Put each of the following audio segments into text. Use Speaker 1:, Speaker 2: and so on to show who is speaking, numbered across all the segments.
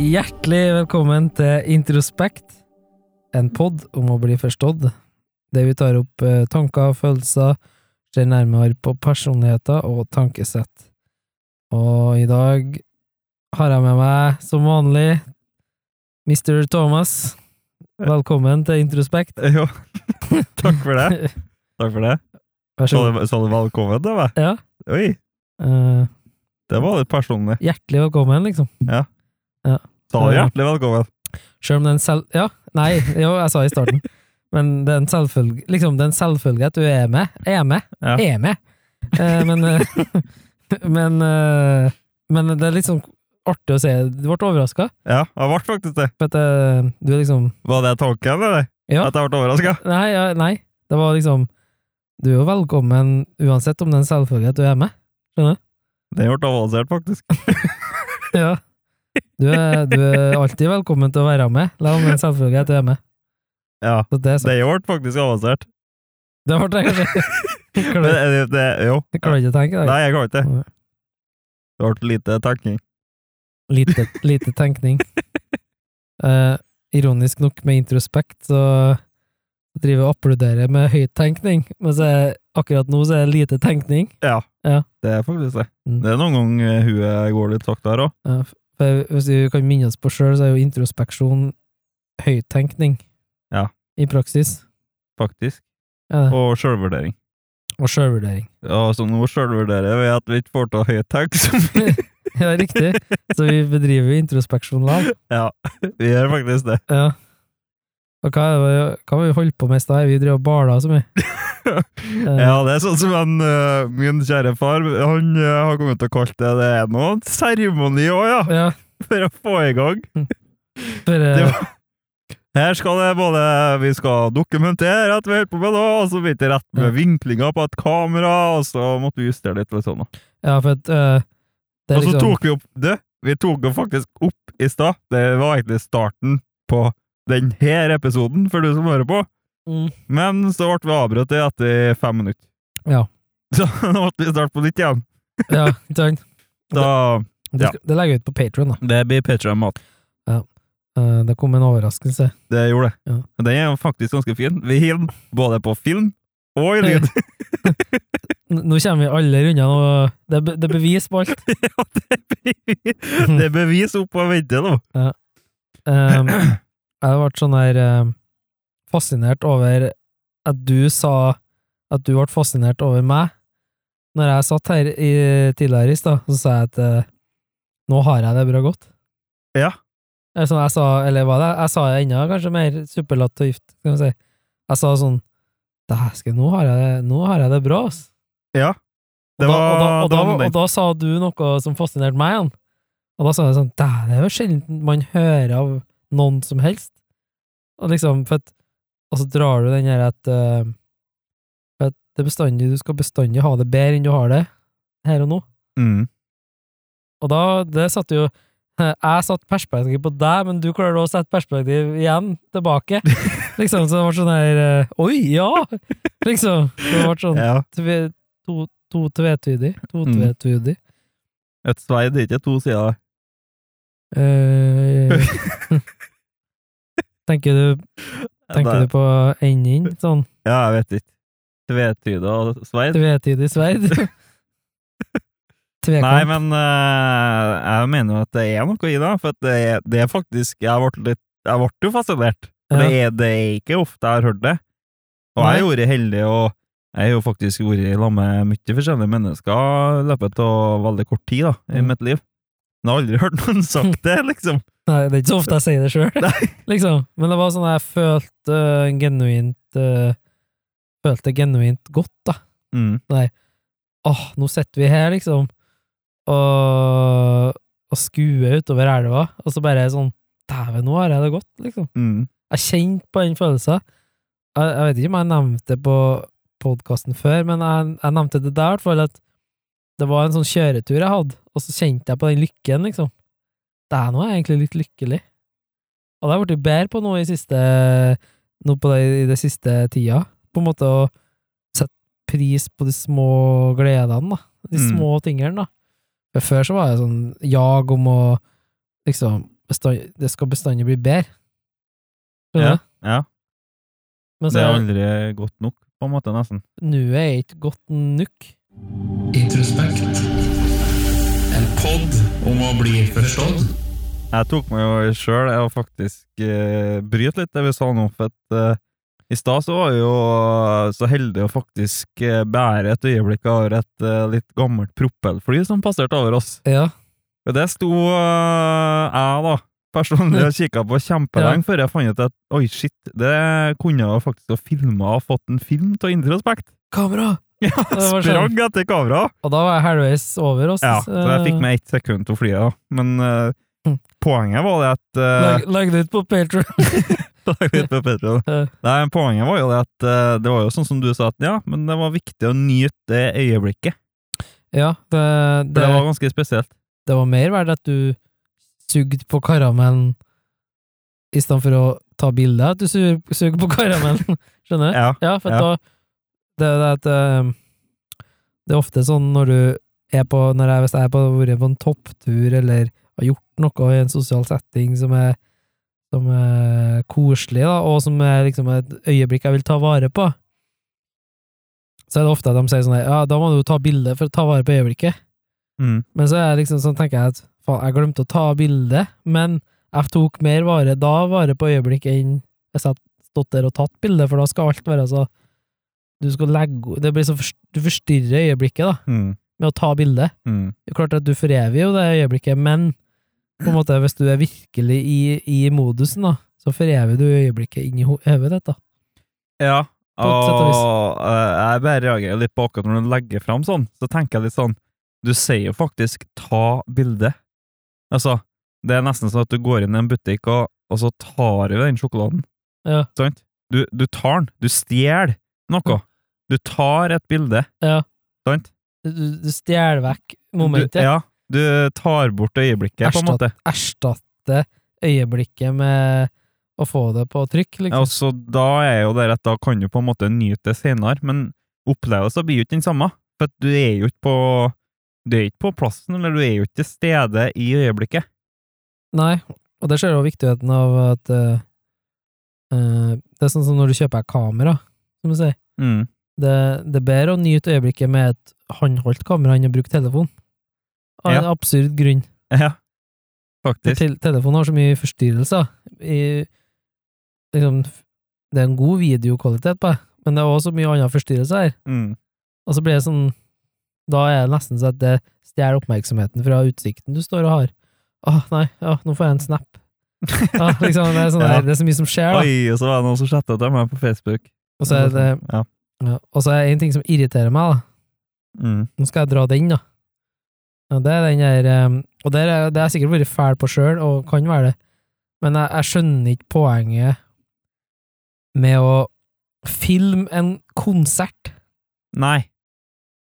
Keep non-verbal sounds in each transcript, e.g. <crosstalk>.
Speaker 1: Hjertelig velkommen til Introspekt, en pod om å bli forstått, der vi tar opp eh, tanker og følelser, ser nærmere på personligheter og tankesett. Og i dag har jeg med meg, som vanlig, Mr. Thomas. Velkommen til Introspekt.
Speaker 2: <laughs> Jo, takk for det.
Speaker 1: Vær
Speaker 2: Takk for det.
Speaker 1: så god.
Speaker 2: Sa du- Sa du velkommen til meg?
Speaker 1: Ja.
Speaker 2: Oi,
Speaker 1: Eh,
Speaker 2: det var litt personlig.
Speaker 1: hjertelig velkommen, liksom.
Speaker 2: Sa du hjertelig velkommen?
Speaker 1: Selv om det er en selv... Ja, nei, jo, jeg sa i starten. Men det er en selvfølge, liksom, det er en selvfølge at du er med. Er med.
Speaker 2: Ja.
Speaker 1: Er med. Eh, men eh, <laughs> men, eh, men det er litt sånn artig å se. Du ble overraska.
Speaker 2: Ja, jeg ble faktisk det.
Speaker 1: For at eh, du er liksom
Speaker 2: Var det tanken, eller?
Speaker 1: Ja.
Speaker 2: At jeg ble overraska?
Speaker 1: Nei, ja, nei. Det var liksom Du er jo velkommen uansett om det er en selvfølge at du er med. <laughs>
Speaker 2: Den ble avansert, faktisk.
Speaker 1: Ja. Du er, du er alltid velkommen til å være med, la om det er en selvfølge at du er med.
Speaker 2: Ja,
Speaker 1: Så det er sant.
Speaker 2: den ble faktisk avansert.
Speaker 1: Det ble jeg kanskje <laughs>
Speaker 2: Men
Speaker 1: Klarer
Speaker 2: det, det, jo.
Speaker 1: klarer ikke å tenke i dag.
Speaker 2: Nei, jeg kan ikke det.
Speaker 1: Nei.
Speaker 2: Det ble lite tenking.
Speaker 1: Lite, lite tenkning.
Speaker 2: <laughs>
Speaker 1: Eh, ironisk nok, med introspekt, så driver jeg og applauderer med høy tenkning, mens jeg, akkurat nå så er det lite tenkning.
Speaker 2: Ja,
Speaker 1: Ja.
Speaker 2: det er faktisk det.
Speaker 1: Mm.
Speaker 2: Det er noen ganger huet går litt sakte her òg.
Speaker 1: Ja, for hvis vi kan minne oss på sjøl, så er jo introspeksjon høytenkning
Speaker 2: Ja.
Speaker 1: i praksis.
Speaker 2: Faktisk.
Speaker 1: Ja, det.
Speaker 2: Og sjølvvurdering.
Speaker 1: og sjølvurdering.
Speaker 2: Ja, så nå sjølvvurderer vi at vi ikke får til høyt tenk så <laughs> mye.
Speaker 1: <laughs> Ja, riktig. Så vi bedriver jo introspeksjon lav.
Speaker 2: Vi gjør faktisk det.
Speaker 1: Ja. Og hva, er det- hva har vi holdt på med i stad? Vi driver og bala så
Speaker 2: <laughs>
Speaker 1: mye. Eh,
Speaker 2: Ja, det er sånn som en, eh, min kjære far Han eh, har kommet til å kalle det det er noe seremoni òg, ja! <laughs>
Speaker 1: ja
Speaker 2: For å få i gang.
Speaker 1: for, eh,
Speaker 2: Det var- Her skal det både Vi skal dokumentere at vi holder på med noe, og så blir det rett med
Speaker 1: Ja.
Speaker 2: vinklinga på et kamera, og så måtte vi justere litt. litt sånn, da.
Speaker 1: Ja, for at øh, det er
Speaker 2: Og så
Speaker 1: liksom,
Speaker 2: tok vi opp Du, vi tok jo faktisk opp i stad. Det var egentlig starten på den her episoden, for du som hører på.
Speaker 1: Mm.
Speaker 2: Men så ble vi avbrutt etter fem minutter. <laughs>
Speaker 1: Ja.
Speaker 2: Så da måtte vi starte på nytt igjen.
Speaker 1: Ja, ikke
Speaker 2: <laughs>
Speaker 1: sant?
Speaker 2: Da
Speaker 1: Det,
Speaker 2: Ja.
Speaker 1: skal- det legger jeg ut på Patron, da.
Speaker 2: Det blir Patreon-mat.
Speaker 1: Eh, det kom en overraskelse.
Speaker 2: Det gjorde det.
Speaker 1: Ja.
Speaker 2: Men Den er jo faktisk ganske fin. Vi hiver den både på film og i
Speaker 1: <laughs>
Speaker 2: lyd.
Speaker 1: N- Nå kommer vi alle rundene, og det, er be- det er bevis på alt.
Speaker 2: Ja, det er bevis- det er bevis opp og vente nå.
Speaker 1: Um, jeg har vært sånn der eh, fascinert over at du sa at du ble fascinert over meg. Når jeg satt her i, tidligere i stad, så sa jeg at eh, nå har jeg det bra godt.
Speaker 2: Ja.
Speaker 1: Eller sånn jeg sa, eller hva det er, jeg sa det enda kanskje mer superlativt, kan man si. Jeg sa sånn, dæsken, nå har jeg det, nå har jeg det bra, ass.
Speaker 2: Ja.
Speaker 1: Og
Speaker 2: Det
Speaker 1: da, og, da, og,
Speaker 2: var
Speaker 1: da, og,
Speaker 2: det var
Speaker 1: da,
Speaker 2: den.
Speaker 1: sa du noe som fascinerte meg, igjen. og da sa jeg sånn, dæ, det er jo sjelden man hører av noen som helst. Og liksom, for at, og så drar du den her at, eh, for at det er bestandig, du skal bestandig ha det bedre enn du har det, her og nå.
Speaker 2: Mm.
Speaker 1: Og da, det satte jo <laughs> Jeg satte perspektiv på deg, men du klarer å sette perspektiv igjen,
Speaker 2: <laughs>
Speaker 1: tilbake. Liksom, så det ble sånn her eh, Oi, ja! Liksom. Det ble sånn
Speaker 2: Ja.
Speaker 1: tve, to, to tvetydig. To
Speaker 2: Mm.
Speaker 1: tvetydig.
Speaker 2: Et sverd er ikke to sider. <laughs>
Speaker 1: Eh, tenker du, tenker
Speaker 2: Det-
Speaker 1: du på enden? Sånn
Speaker 2: Ja, jeg vet ikke. Tvetyde og sverd?
Speaker 1: tvetydig
Speaker 2: <laughs>
Speaker 1: sverd?
Speaker 2: Nei,
Speaker 1: Tvekamp?
Speaker 2: men eh, jeg mener jo at det er noe i det. For at det er, det er faktisk Jeg ble, litt, jeg ble jo fascinert.
Speaker 1: Ja.
Speaker 2: For det, er, det er ikke ofte jeg har hørt det. Og jeg
Speaker 1: Nei.
Speaker 2: har vært heldig, og jeg har jo faktisk vært i lag med mye forskjellige mennesker i løpet av veldig kort tid da, i
Speaker 1: Mm.
Speaker 2: mitt liv. Men jeg har aldri hørt noen
Speaker 1: <laughs>
Speaker 2: sagt det, liksom.
Speaker 1: Nei, det er ikke så ofte jeg sier det sjøl.
Speaker 2: <laughs> Nei.
Speaker 1: liksom. Men det var sånn jeg følte øh, genuint øh, Følte genuint godt, da.
Speaker 2: Mm.
Speaker 1: Åh, nå sitter vi her, liksom, og, og skuer utover elva, og så bare sånn Dæven, nå har jeg det godt, liksom.
Speaker 2: Mm.
Speaker 1: Jeg kjente på den følelsen. Jeg, jeg vet ikke om jeg nevnte det på podkasten før, men jeg, jeg nevnte det der, i hvert fall, at det var en sånn kjøretur jeg hadde, og så kjente jeg på den lykken, liksom. Det er nå er jeg egentlig litt lykkelig. Og det har jeg blitt bedre på nå i siste nå på det, i det siste tida. På en måte å sette pris på de små gledene, da. De
Speaker 2: Mm.
Speaker 1: små tingene, da. For før så var jeg sånn jag om å liksom bestand, det skal bestandig bli bedre. Skjønner
Speaker 2: Ja,
Speaker 1: du?
Speaker 2: ja.
Speaker 1: Men
Speaker 2: Det
Speaker 1: så
Speaker 2: er
Speaker 1: er
Speaker 2: aldri godt nok, på en måte, nesten.
Speaker 1: nuet er ikke godt nok.
Speaker 3: Introspekt. En pod om å bli forstått.
Speaker 2: Jeg tok meg jo sjøl i å faktisk eh, bryte litt det vi sa nå, for at eh, i stad så var jeg jo eh, så heldig å faktisk eh, bære et øyeblikk over et eh, litt gammelt propellfly som passerte over oss.
Speaker 1: Ja.
Speaker 2: Og det sto eh, jeg, da, personlig og kikka på kjempelenge før jeg fant ut at oi, shit, det kunne jeg faktisk ha filma og fått en film av Introspekt.
Speaker 1: Kamera!
Speaker 2: <laughs> Ja,
Speaker 1: var sånn.
Speaker 2: sprang etter kameraet!
Speaker 1: Og da var jeg halvveis over oss.
Speaker 2: Ja, så jeg fikk med ett sekund til flyet, da. Men eh, poenget var det at eh,
Speaker 1: Lag, lag det ut på
Speaker 2: <laughs>
Speaker 1: Patreon
Speaker 2: Lag litt med Patreon.
Speaker 1: Ja.
Speaker 2: Nei, men Poenget var jo det at eh, det var jo sånn som du sa, at ja, men det var viktig å nyte det øyeblikket.
Speaker 1: ja, det,
Speaker 2: For
Speaker 1: det,
Speaker 2: det var ganske spesielt.
Speaker 1: det var mer verdt at du sugde på karamellen i stedet for å ta bilde. At du su- suger på karamellen. <laughs> Skjønner du?
Speaker 2: Ja,
Speaker 1: Ja, for
Speaker 2: Ja.
Speaker 1: da det, det, er et, eh, det er ofte sånn når du er på når jeg, Hvis jeg har vært på en topptur eller har gjort noe i en sosial setting som er, som er koselig, da, og som er liksom et øyeblikk jeg vil ta vare på, så er det ofte at de sier sånn her, ja, da må du ta bilde for å ta vare på øyeblikket.
Speaker 2: mm.
Speaker 1: Men så er det liksom sånn, tenker jeg at faen, jeg glemte å ta bilde, men jeg tok mer vare da vare på øyeblikk enn hvis jeg hadde stått der og tatt bilde, for da skal alt være så Du skal legge det blir så forst- Du forstyrrer øyeblikket da,
Speaker 2: Mm.
Speaker 1: med å ta bilde.
Speaker 2: Mm.
Speaker 1: Det er klart at du foreviger jo det øyeblikket, men på en måte hvis du er virkelig i, i modusen, da, så foreviger du øyeblikket inn i ho- hodet ditt. da.
Speaker 2: ja.
Speaker 1: På et sett og vis.
Speaker 2: Og eh, jeg bare reagerer litt på akkurat når du legger fram sånn, så tenker jeg litt sånn Du sier jo faktisk 'ta bilde'. Altså, det er nesten sånn at du går inn i en butikk, og, og så tar du den sjokoladen.
Speaker 1: Ja.
Speaker 2: Sant? Du, du tar den. Du stjeler noe. Du tar et bilde.
Speaker 1: Ja.
Speaker 2: Sant?
Speaker 1: Du, du, du stjeler vekk momentet.
Speaker 2: Du, ja, du tar bort øyeblikket, på en
Speaker 1: Erstatt.
Speaker 2: måte.
Speaker 1: Erstatte øyeblikket med å få det på trykk,
Speaker 2: Ja,
Speaker 1: liksom.
Speaker 2: og så da er jo det rett, da kan du på en måte nyte det senere, men opplevelsen blir jo ikke den samme. For at du er jo ikke på du er ikke på plassen, eller du er jo ikke til stede i øyeblikket.
Speaker 1: Nei, og der ser du også viktigheten av at eh, eh, Det er sånn som når du kjøper et kamera, som du sier.
Speaker 2: Mm. <laughs>
Speaker 1: Det, det er bedre å nyte øyeblikket med et håndholdt kamera enn å bruke telefon. Av en absurd grunn.
Speaker 2: Ja,
Speaker 1: For
Speaker 2: faktisk.
Speaker 1: tel- telefonen har så mye forstyrrelser. I, liksom, det er en god videokvalitet på det, men det er også så mye annen forstyrrelse her.
Speaker 2: Mm.
Speaker 1: Og så blir det sånn Da er det nesten så at det stjeler oppmerksomheten fra utsikten du står og har. Åh, nei, ja, nå får jeg en snap.
Speaker 2: <laughs>
Speaker 1: Ja, liksom, det, er sånn,
Speaker 2: Ja.
Speaker 1: der, det er så mye som skjer, da.
Speaker 2: Oi, og så var det noen som chatta til meg på Facebook.
Speaker 1: Og så er det
Speaker 2: Ja.
Speaker 1: ja, Og så er det en ting som irriterer meg, da.
Speaker 2: Mm.
Speaker 1: Nå skal jeg dra den, da. Ja, det er den der um, Og det er, det er jeg sikkert vært fæl på sjøl, og kan være det, men jeg, jeg skjønner ikke poenget med å filme en konsert
Speaker 2: Nei.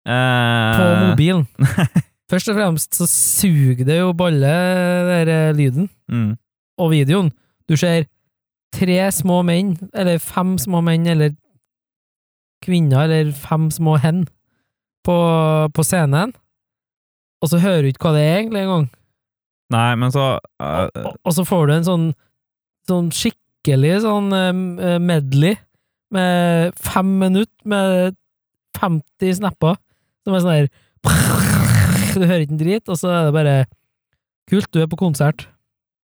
Speaker 2: Eh,
Speaker 1: på mobilen. Først og fremst så suger det jo balle, den der lyden
Speaker 2: Mm.
Speaker 1: og videoen. Du ser tre små menn, eller fem små menn, eller kvinner, eller fem små hen på, på scenen, og så hører du ikke hva det er egentlig engang.
Speaker 2: Nei, men så eh,
Speaker 1: Og, og- og så får du en sånn, sånn skikkelig sånn eh, medley med fem minutter med 50 snapper, som er sånn her Du hører ikke en drit, og så er det bare Kult, du er på konsert.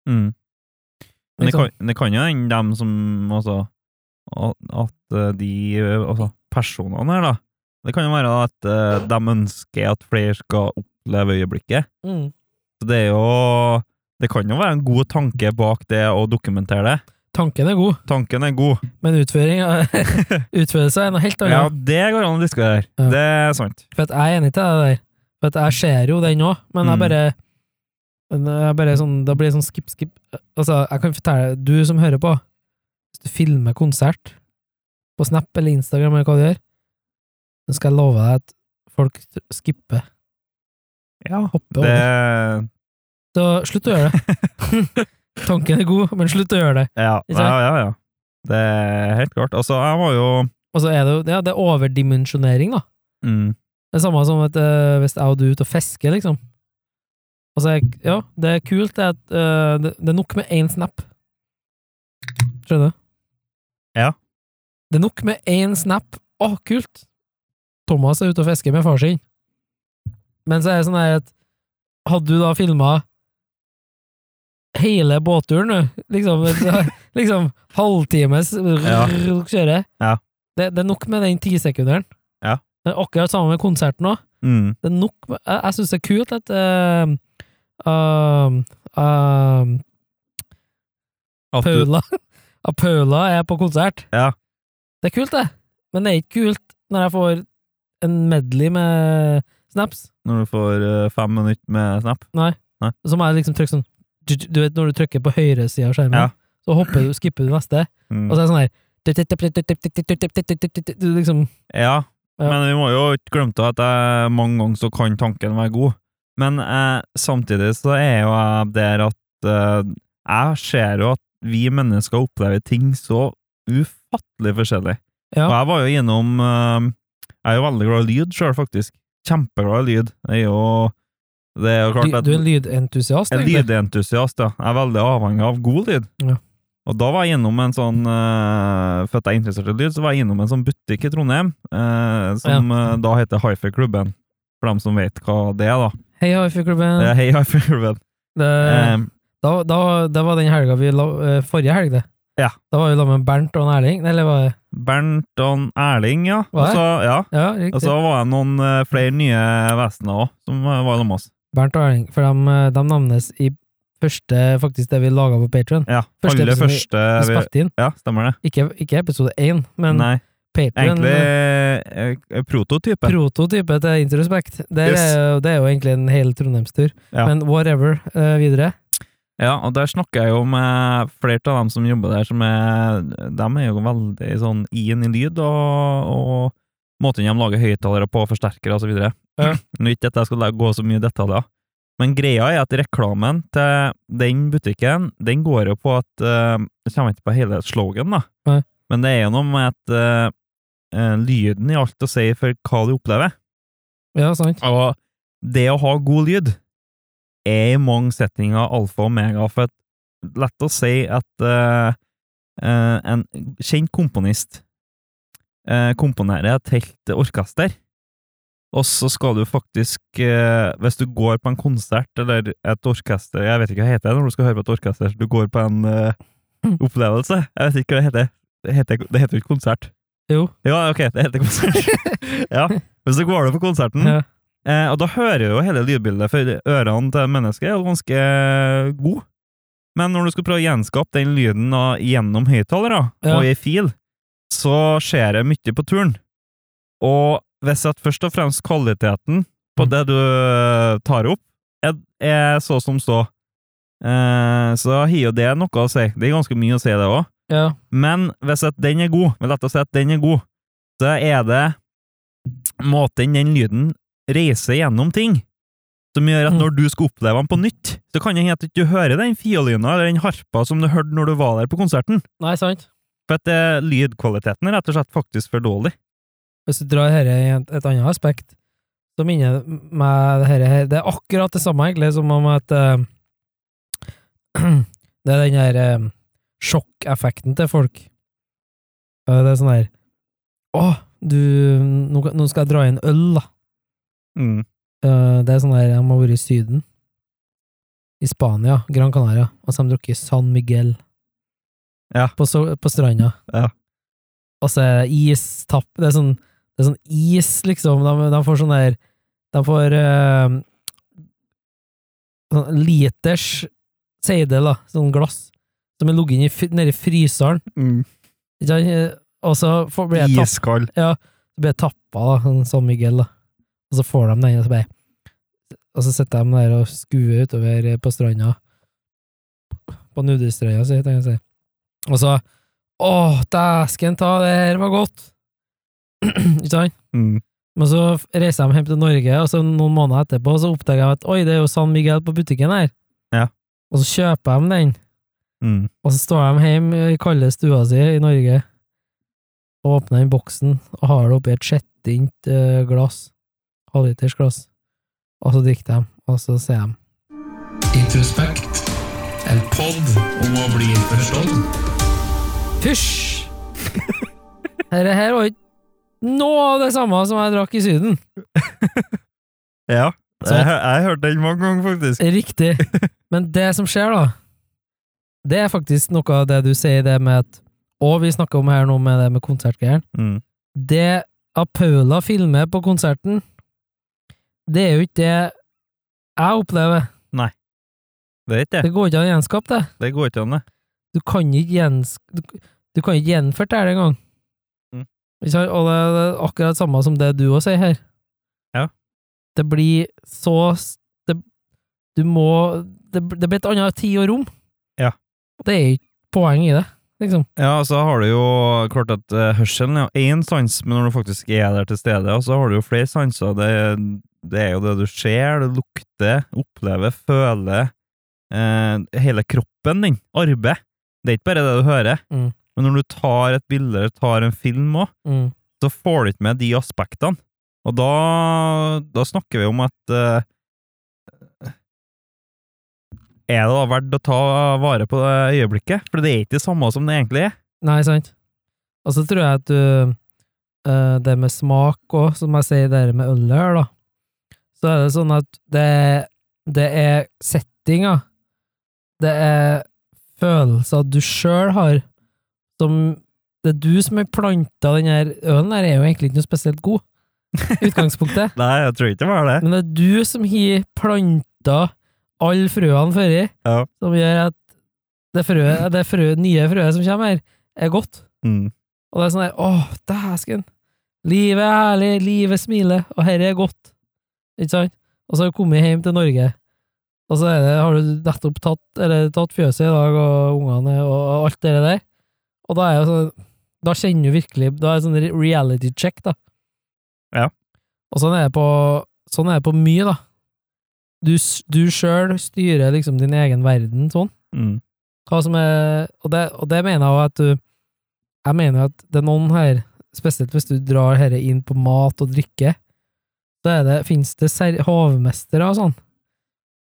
Speaker 2: Mm. Men det
Speaker 1: Liksom.
Speaker 2: kan, det kan jo hende dem som altså, at- At eh, de eh, altså, personene her, da Det kan jo være at eh, de ønsker at flere skal oppleve øyeblikket.
Speaker 1: Mm.
Speaker 2: Så det er jo Det kan jo være en god tanke bak det å dokumentere det.
Speaker 1: Tanken er god.
Speaker 2: Tanken er god.
Speaker 1: Men utføringa <laughs> Utførelse er noe helt
Speaker 2: Ja,
Speaker 1: annet.
Speaker 2: det går an å diskutere.
Speaker 1: Ja.
Speaker 2: Det er sant.
Speaker 1: For at jeg er enig til deg der. For at jeg ser jo den òg, men
Speaker 2: Mm.
Speaker 1: jeg bare jeg bare sånn, Da blir det sånn skip-skip Altså, jeg kan fortelle deg, du som hører på, hvis du filmer konsert på Snap eller Instagram eller hva du gjør, så skal jeg love deg at folk skipper.
Speaker 2: Ja,
Speaker 1: Hopper
Speaker 2: det
Speaker 1: over. Så slutt å gjøre
Speaker 2: <laughs>
Speaker 1: det. Tanken er god, men slutt å gjøre det.
Speaker 2: Ja,
Speaker 1: Ikke
Speaker 2: ja,
Speaker 1: sant?
Speaker 2: ja. ja. Det er helt klart. Altså, jeg var jo
Speaker 1: Og så er det jo ja, det er overdimensjonering, da.
Speaker 2: mm,
Speaker 1: Det er samme som at eh, hvis jeg og du er ute og fisker, liksom, og Og så er, ja, det er kult, det er, at, øh, det, det er nok med én snap. Skjønner du?
Speaker 2: Ja.
Speaker 1: Det er nok med én snap. Å, kult! Thomas er ute og fisker med far sin. Men så er det sånn her at Hadde du da filma hele båtturen, du, liksom, <laughs> liksom halvtimes
Speaker 2: Ja.
Speaker 1: kjøre
Speaker 2: Ja.
Speaker 1: det, det er nok med den tisekunderen.
Speaker 2: Ja.
Speaker 1: Det er akkurat sammen med konserten òg.
Speaker 2: Mm.
Speaker 1: Det er nok Jeg, jeg syns det er kult at eh, um, um,
Speaker 2: At du-
Speaker 1: Paula at Paula er på konsert.
Speaker 2: Ja.
Speaker 1: Det er kult, det. Men det er ikke kult når jeg får en medley med snaps.
Speaker 2: Når du får eh, fem minutter med snap.
Speaker 1: Så må jeg liksom trykke sånn Du vet når du trykker på høyresida av skjermen,
Speaker 2: Ja.
Speaker 1: så hopper du, skipper du neste,
Speaker 2: Mm.
Speaker 1: og så er det sånn her Du liksom
Speaker 2: Ja,
Speaker 1: Ja.
Speaker 2: men vi må jo ikke glemme til at jeg, mange ganger så kan tanken være god. Men eh, samtidig så er jo jeg der at eh, jeg ser jo at vi mennesker opplever ting så ufattelig forskjellig.
Speaker 1: Ja.
Speaker 2: Og jeg var jo gjennom eh, Jeg er jo veldig glad i lyd sjøl, faktisk. Kjempeglad i lyd. Jeg er jo Det er jo
Speaker 1: Du,
Speaker 2: klart at
Speaker 1: du er en lydentusiast,
Speaker 2: en
Speaker 1: egentlig.
Speaker 2: lydentusiast, ja. Jeg er veldig avhengig av god lyd.
Speaker 1: Ja.
Speaker 2: Og da var jeg gjennom en sånn eh, For at jeg er interessert i lyd, så var jeg gjennom en sånn butikk i Trondheim, eh, som eh, da heter Hifi-klubben. For dem som vet hva det er, da.
Speaker 1: Hei, Hifi-klubben.
Speaker 2: Det er Hei Hifi-klubben.
Speaker 1: Det-
Speaker 2: Eh,
Speaker 1: Da, da, det var den helga vi la, eh, Forrige helg, det.
Speaker 2: Ja.
Speaker 1: Da var vi sammen med Bernt og en Erling. Eller var det
Speaker 2: Bernt og Erling, ja.
Speaker 1: Hva
Speaker 2: Og
Speaker 1: er?
Speaker 2: så, ja.
Speaker 1: Ja,
Speaker 2: Og
Speaker 1: riktig.
Speaker 2: så var det noen eh, flere nye vesener òg, som eh, var sammen med oss.
Speaker 1: Bernt og Erling. For de, eh, de navnes i første, faktisk, det vi laga på Patrion.
Speaker 2: Ja,
Speaker 1: Første
Speaker 2: Aller
Speaker 1: episoden vi-
Speaker 2: første
Speaker 1: Vi
Speaker 2: vi,
Speaker 1: spilte inn.
Speaker 2: Ja, stemmer det.
Speaker 1: Ikke, ikke episode én, men
Speaker 2: Nei,
Speaker 1: Patrion.
Speaker 2: egentlig eh, eh, prototype.
Speaker 1: Prototype til Introspect. Det,
Speaker 2: Yes.
Speaker 1: er, jo- det er jo egentlig en hel Trondheimstur.
Speaker 2: Ja.
Speaker 1: Men whatever eh, videre.
Speaker 2: Ja, og der snakker jeg jo med flere av dem som jobber der, som er De er jo veldig sånn i-en i lyd, og, og måten de lager høyttalere på, forsterkere og så videre.
Speaker 1: Ja.
Speaker 2: <clears throat> Nå er ikke at jeg skal la- gå så mye i detaljer, men greia er at reklamen til den butikken, den går jo på at eh, Jeg kommer ikke på hele slogan, da,
Speaker 1: Nei.
Speaker 2: men det er jo noe med at eh, eh, lyden i alt å si for hva du opplever.
Speaker 1: Ja, sant?
Speaker 2: Og det å ha god lyd er i mange settinger alfa og omega. For at, lett å si at eh, eh, en kjent komponist eh, komponerer et helt orkester, og så skal du faktisk eh, Hvis du går på en konsert eller et orkester Jeg vet ikke hva det heter når du skal høre på et orkester. Du går på en eh,
Speaker 1: Mm.
Speaker 2: opplevelse. Jeg vet ikke hva det heter. Det heter, det heter jo ikke konsert.
Speaker 1: Jo.
Speaker 2: Ja, ok, det heter
Speaker 1: <laughs>
Speaker 2: konsert. ja. Hvis du går på konserten,
Speaker 1: Ja.
Speaker 2: Eh, og da hører jo hele lydbildet for ørene til mennesket er jo ganske god. Men når du skal prøve å gjenskape den lyden da, gjennom høyttalere
Speaker 1: Ja.
Speaker 2: og i fil, så skjer det mye på turen. Og hvis at først og fremst kvaliteten på
Speaker 1: Mm.
Speaker 2: det du eh, tar opp, er, er så som så, eh, så har jo det noe å si. Det er ganske mye å si, det òg.
Speaker 1: ja.
Speaker 2: Men hvis at den er god, men lett å si at den er god, så er det måten den lyden reiser gjennom ting, som gjør at
Speaker 1: Mm.
Speaker 2: når du skal oppleve den på nytt, så kan det hende at du ikke hører den fiolina eller den harpa som du hørte når du var der på konserten.
Speaker 1: Nei, sant?
Speaker 2: For at eh, lydkvaliteten er rett og slett faktisk for dårlig.
Speaker 1: Hvis du drar dette i et, et annet aspekt, så minner det meg dette her Det er akkurat det samme, egentlig, som om at eh, <clears throat> Det er den der eh, sjokkeffekten til folk. Eh, det er sånn her Å, du nå, nå skal jeg dra inn øl, da.
Speaker 2: Mm.
Speaker 1: Eh, det er sånn her Jeg må ha vært i Syden. I Spania, Gran Canaria, og så har de drukket San Miguel.
Speaker 2: Ja.
Speaker 1: På, so- på stranda.
Speaker 2: Ja.
Speaker 1: Og så er det istapp Det er sånn, det er sånn is, liksom. De, de får sånn der De får eh, sånn liters seidel, da. Sånn glass. Som er ligget inni fr- nedi fryseren. Ikke sant? Eh, Og så får- blir jeg tapp,
Speaker 2: Mm. Iskald.
Speaker 1: så blir jeg tappa, da. Sånn San Miguel, da. Og så får de den, og så bare Og så sitter de der og skuer utover eh, på stranda. På nudiststranda si, tenker jeg å si. Og så Åh, dæsken ta, det her var godt! <clears throat> Ikke sant?
Speaker 2: Mm.
Speaker 1: Men så reiser de hjem til Norge, og så noen måneder etterpå så oppdager jeg at oi, det er jo San Miguel på butikken her.
Speaker 2: Ja.
Speaker 1: Og så kjøper de den,
Speaker 2: Mm.
Speaker 1: og så står de hjemme i kalde stua si i Norge og åpner den boksen og har det oppi et sjettint eh, glass, halvliters glass, og så drikker de, og så sier de
Speaker 3: Introspekt. En pod om å bli forstått.
Speaker 1: Fysj! <laughs> Dette her var ikke noe av det samme som jeg drakk i Syden.
Speaker 2: Ja. Eh. Jeg, hø- jeg hørte den mange ganger, faktisk.
Speaker 1: Riktig. Men det som skjer, da, det er faktisk noe av det du sier, det med at Og vi snakker om her nå med det med konsertgreier.
Speaker 2: Mm.
Speaker 1: Det at Paula filmer på konserten, det er jo ikke det jeg opplever.
Speaker 2: Det er ikke det.
Speaker 1: Det går ikke an å gjenskape det.
Speaker 2: Det går ikke an, det.
Speaker 1: Du kan ikke gjensk... Du, du kan ikke gjenført det her engang.
Speaker 2: Mm.
Speaker 1: Ikke sant? Og det er akkurat det samme som det du også sier her.
Speaker 2: Ja.
Speaker 1: Det blir så s- det, Du må Det, det blir et annet tid og rom.
Speaker 2: Ja.
Speaker 1: Det er ikke poeng i det, liksom.
Speaker 2: Ja, og så har du jo klart at eh, hørselen er jo én sans, men når du faktisk er der til stede, og så har du jo flere sanser. Det, det er jo det du ser, det lukter, opplever, føler. Eh, hele kroppen din. Arbeid. Det er ikke bare det du hører.
Speaker 1: Mm.
Speaker 2: Men når du tar et bilde eller tar en film òg,
Speaker 1: Mm.
Speaker 2: så får du ikke med de aspektene. Og da, da snakker vi om at eh, Er det da verdt å ta vare på det øyeblikket? For det er ikke det samme som det egentlig er.
Speaker 1: Nei, sant. Og så tror jeg at du eh, Det med smak òg, som jeg sier det her med ølet her, da. Så er det sånn at det, det er settinga. Det er følelser du sjøl har, som Det er du som har planta den her ølen her, er jo egentlig ikke noe spesielt god. I
Speaker 2: <laughs>
Speaker 1: utgangspunktet.
Speaker 2: Nei, jeg tror ikke det var det.
Speaker 1: Men det er du som har planta alle frøene føri,
Speaker 2: Ja.
Speaker 1: som gjør at det, frø, det frø, nye frøet som kommer her, er godt.
Speaker 2: Mm.
Speaker 1: Og det er sånn der, åh, dæsken. Livet er herlig, livet smiler, og herre er godt. Ikke sant? Og så har du kommet hjem til Norge, og så er det, har du nettopp tatt, eller, tatt fjøset i dag, og ungene, og alt det der. Og da er jo sånn, da kjenner du virkelig, da er det sånn reality check, da.
Speaker 2: Ja.
Speaker 1: Og sånn er det på, sånn er det på mye, da. Du, s- du selv styrer liksom din egen verden, sånn
Speaker 2: Mm.
Speaker 1: hva som er Og det, og det mener jeg jo at du Jeg mener at det er noen her, spesielt hvis du drar dette inn på mat og drikke, så er det, finnes det ser- hovmestere og sånn,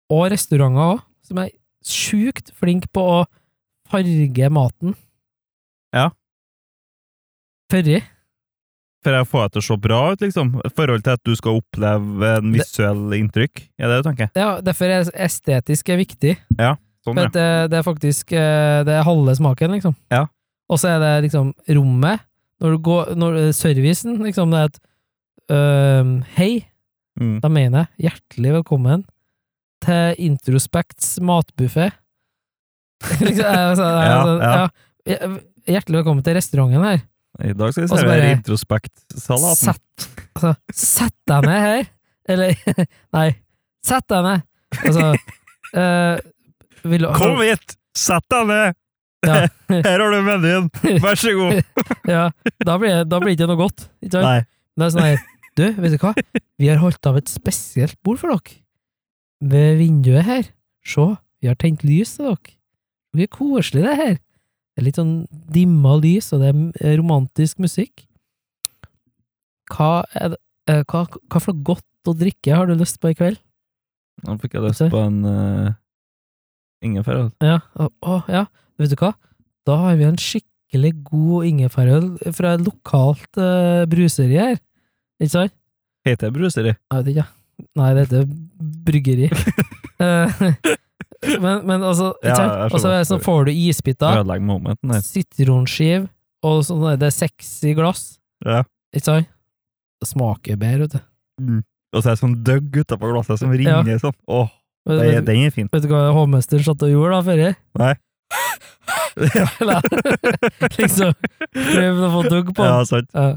Speaker 1: og restauranter òg, som er sjukt flinke på å farge maten.
Speaker 2: Ja.
Speaker 1: Førri.
Speaker 2: For jeg får det til å se bra ut, liksom. I forhold til at du skal oppleve en visuell inntrykk. Er det det du tenker?
Speaker 1: Ja, derfor er estetisk er viktig.
Speaker 2: Sånn,
Speaker 1: For at
Speaker 2: ja.
Speaker 1: det, det er faktisk eh, Det er halve smaken, liksom.
Speaker 2: Ja.
Speaker 1: Og så er det liksom rommet. Når du går, når, eh, servicen, liksom. Det er et øhm, Hei,
Speaker 2: Mm.
Speaker 1: da mener jeg hjertelig velkommen til Introspekts matbuffé. <laughs> liksom, jeg, så, jeg,
Speaker 2: Ja,
Speaker 1: sånn,
Speaker 2: ja.
Speaker 1: ja. Hjertelig velkommen til restauranten her.
Speaker 2: I dag skal vi
Speaker 1: Og så
Speaker 2: servere
Speaker 1: bare-
Speaker 2: introspektsalaten.
Speaker 1: Sett, altså, sett deg ned her! Eller, <laughs> nei, sett deg ned! Altså,
Speaker 2: <laughs>
Speaker 1: eh, vil du
Speaker 2: Kom hit! Sett deg ned!
Speaker 1: Ja.
Speaker 2: <laughs> Her har du menyen! Vær så
Speaker 1: <laughs>
Speaker 2: god!
Speaker 1: Ja, da blir, det- da blir det ikke noe godt. Ikke sant?
Speaker 2: Nei.
Speaker 1: Det er sånn her, du, vet du hva? Vi har holdt av et spesielt bord for dere. Ved vinduet her. Se, vi har tent lys til dere. Det er koselig, det her. Det er litt sånn dimma lys, og det er eh, romantisk musikk. Hva, er det, eh, hva, hva for noe godt å drikke har du lyst på i kveld?
Speaker 2: Nå fikk jeg
Speaker 1: Vet
Speaker 2: lyst
Speaker 1: du?
Speaker 2: på en uh, ingefær. altså.
Speaker 1: Ja, å, å, ja, vet du hva? Da har vi en skikkelig god ingefærøl fra et lokalt eh, bruseri her. Ikke sant?
Speaker 2: Heter det bruseri?
Speaker 1: Jeg vet ikke. ja. Nei, det heter
Speaker 2: <laughs>
Speaker 1: bryggeri. Eh, men, men altså, ikke sant?
Speaker 2: Ja, jeg skjønner.
Speaker 1: Og så er det sånn, får du isbiter,
Speaker 2: Ødelegger momenten her.
Speaker 1: sitronskiv, og sånn der, det er sexy glass.
Speaker 2: Ja.
Speaker 1: Ikke sant? Det smaker bedre, vet du.
Speaker 2: Og så er det sånn døgg utapå glasset som ringer sånn. Åh,
Speaker 1: Vet,
Speaker 2: det er-
Speaker 1: vet,
Speaker 2: den er fin.
Speaker 1: vet du hva hovmesteren satt og gjorde da, forrige?
Speaker 2: ja,
Speaker 1: <laughs> Eller, <laughs> liksom, prøvde å få dugg på den.
Speaker 2: ja, sant.
Speaker 1: Ja.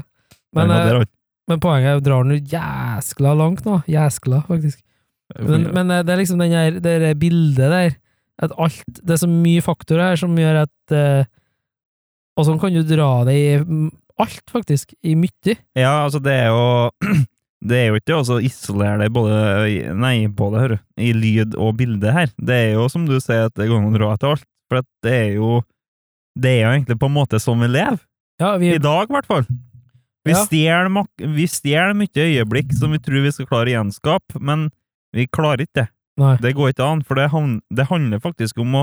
Speaker 1: Men,
Speaker 2: Den var
Speaker 1: eh,
Speaker 2: der, han.
Speaker 1: men poenget er jo, drar den jo jæskla langt nå. Jæskla, faktisk. Men, men eh, det er liksom den her, det der bildet der, at alt, det er så mye faktorer her som gjør at eh, Og sånn kan du dra det i mm, alt, faktisk. I mye.
Speaker 2: Ja, altså, det er jo <clears throat> Det er jo ikke å isolere det både i- Nei, både, hører du, i lyd og bilde her. Det er jo, som du sier, at det går an å dra etter alt. For at det er jo Det er jo egentlig på en måte sånn vi lever.
Speaker 1: Ja, vi,
Speaker 2: I dag, i hvert fall. Vi
Speaker 1: Ja.
Speaker 2: stjeler mak- vi stjeler mye øyeblikk som vi tror vi skal klare å gjenskape, men vi klarer ikke det.
Speaker 1: Nei.
Speaker 2: Det går ikke an, for det, han- det handler faktisk om å